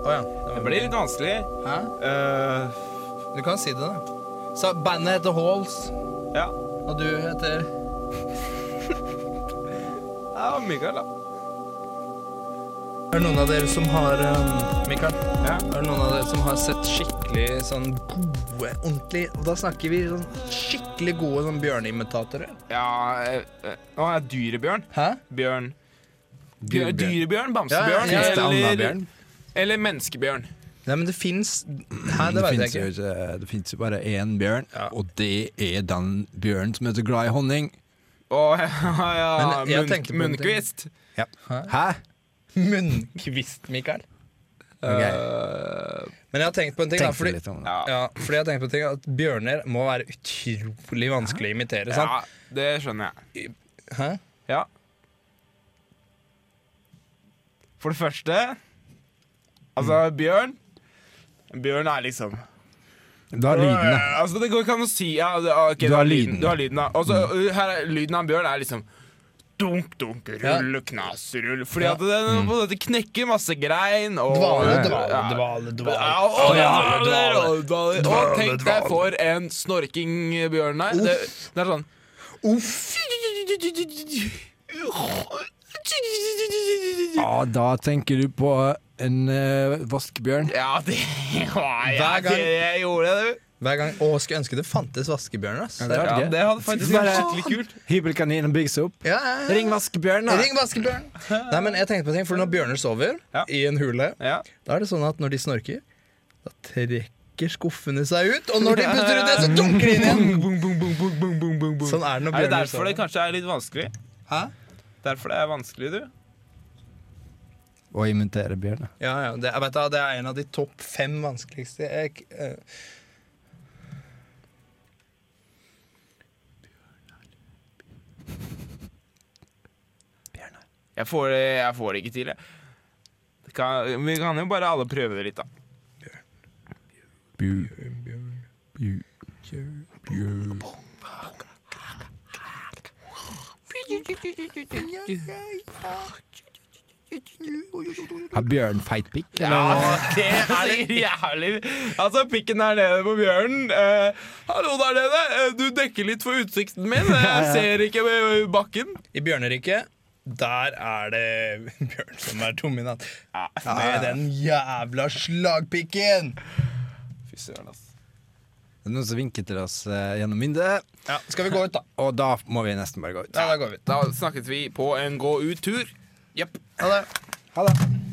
Speaker 1: Å ja.
Speaker 2: Det blir litt vanskelig.
Speaker 1: Hæ?
Speaker 2: Eh,
Speaker 1: Du kan si det, da. Så bandet heter Halls,
Speaker 2: ja.
Speaker 1: og du heter
Speaker 2: ja. Mikael, da.
Speaker 1: Er det noen av dere som har um, Mikael?
Speaker 2: Ja.
Speaker 1: Er det noen av dere som har sett skikkelig sånn gode, ordentlig Og da snakker vi sånn skikkelig gode sånn bjørneimitatorer.
Speaker 2: Ja eh, eh, Nå er jeg dyrebjørn.
Speaker 1: Hæ?
Speaker 2: Bjørn. Bjør- Dyrebjørn,
Speaker 1: Ja,
Speaker 2: bamsebjørn
Speaker 1: ja, ja.
Speaker 2: eller, eller menneskebjørn.
Speaker 1: Nei, men det fins Hæ, det veit jeg ikke.
Speaker 3: eh, Det fins jo bare én bjørn, og det er den bjørnen som er så glad i honning.
Speaker 2: Og <laughs> ja,
Speaker 1: Men jeg
Speaker 2: munn,
Speaker 1: tenkte på en ting.
Speaker 2: Munnkvist.
Speaker 1: Ja. Hæ? Munnkvist, Mikael. Men jeg har tenkt på en ting, da,
Speaker 3: Tenk
Speaker 1: fordi,
Speaker 3: Eh, litt om det.
Speaker 2: Ja.
Speaker 1: ja, fordi jeg har tenkt på en ting at bjørner må være utrolig vanskelig å imitere.
Speaker 2: ja,
Speaker 1: Sant?
Speaker 2: det skjønner jeg.
Speaker 1: Hæ?
Speaker 2: Ja. For det første Altså, bjørn Bjørn er liksom
Speaker 3: Du har lydene.
Speaker 2: Øh, Altså, det går ikke an å si ja, det, ah, ok, Du har lyden. Du har lyden, da. Og så øh, her er lyden av en bjørn er liksom Dunk, dunk, rull, knas, rull. Fordi at den på en måte knekker masse grein og
Speaker 1: Dvale,
Speaker 2: Ja.
Speaker 1: dvale, dvale, dvale.
Speaker 2: Ja, og-
Speaker 1: Dvale, dvale.
Speaker 2: og- dvale. Og tenk deg for en snorkingbjørn der. Det, det er sånn Uff.
Speaker 3: Ja, da tenker du på en eh, vaskebjørn.
Speaker 2: Ja, det <laughs> var
Speaker 1: Hver
Speaker 2: jeg.
Speaker 1: gang-
Speaker 2: Det jeg gjorde det, du.
Speaker 1: Hver gang, å, skulle ønske det fantes vaskebjørner. ass.
Speaker 3: det er
Speaker 2: Ja, det hadde faktisk vært skikkelig kult.
Speaker 3: Hybelkaninen bygges opp.
Speaker 1: Ja, ja, ja.
Speaker 3: Ring vaskebjørn, da!
Speaker 1: Ring vaskebjørn! Nei, men jeg tenkte på en ting, for Når bjørner sover
Speaker 2: Ja.
Speaker 1: i en hule,
Speaker 2: Ja.
Speaker 1: da er det sånn at når de snorker, da trekker skuffene seg ut, og når de puster ut det, så dunker de inn igjen!
Speaker 2: Boom, boom, boom, boom, boom, boom, boom, boom.
Speaker 1: Sånn er det når
Speaker 2: Er det
Speaker 1: bjørner
Speaker 2: derfor det
Speaker 1: sover.
Speaker 2: kanskje er litt vanskelig?
Speaker 1: Hæ?
Speaker 2: Derfor det er vanskelig, du?
Speaker 3: Å imitere bjørn. da.
Speaker 1: Ja, ja, det, jeg vet, da, det er en av de topp fem vanskeligste jeg, k- eh,
Speaker 2: Jeg får det, jeg får det ikke til, jeg. Det kan, vi kan jo bare alle prøve det litt, da. <laughs>
Speaker 3: Har bjørn feit pikk?
Speaker 2: Ja, det er det jævlig Altså, pikken er nede på bjørnen. Eh, hallo der nede, eh, du dekker litt for utsikten min. Eh, <laughs> Jeg ser ikke eh, bakken.
Speaker 1: I bjørneriket, der er det <laughs> bjørn som er dominant. Med den jævla slagpikken!
Speaker 2: Fy søren, altså.
Speaker 3: Det er noen som vinker til oss eh, gjennom vinduet,
Speaker 1: Ja, skal vi gå ut, da?
Speaker 3: og da må vi nesten bare gå ut.
Speaker 1: Ja, da går vi ut.
Speaker 2: Da snakket vi på en gå ut-tur. Jepp.
Speaker 1: Ha det.
Speaker 3: Ha det.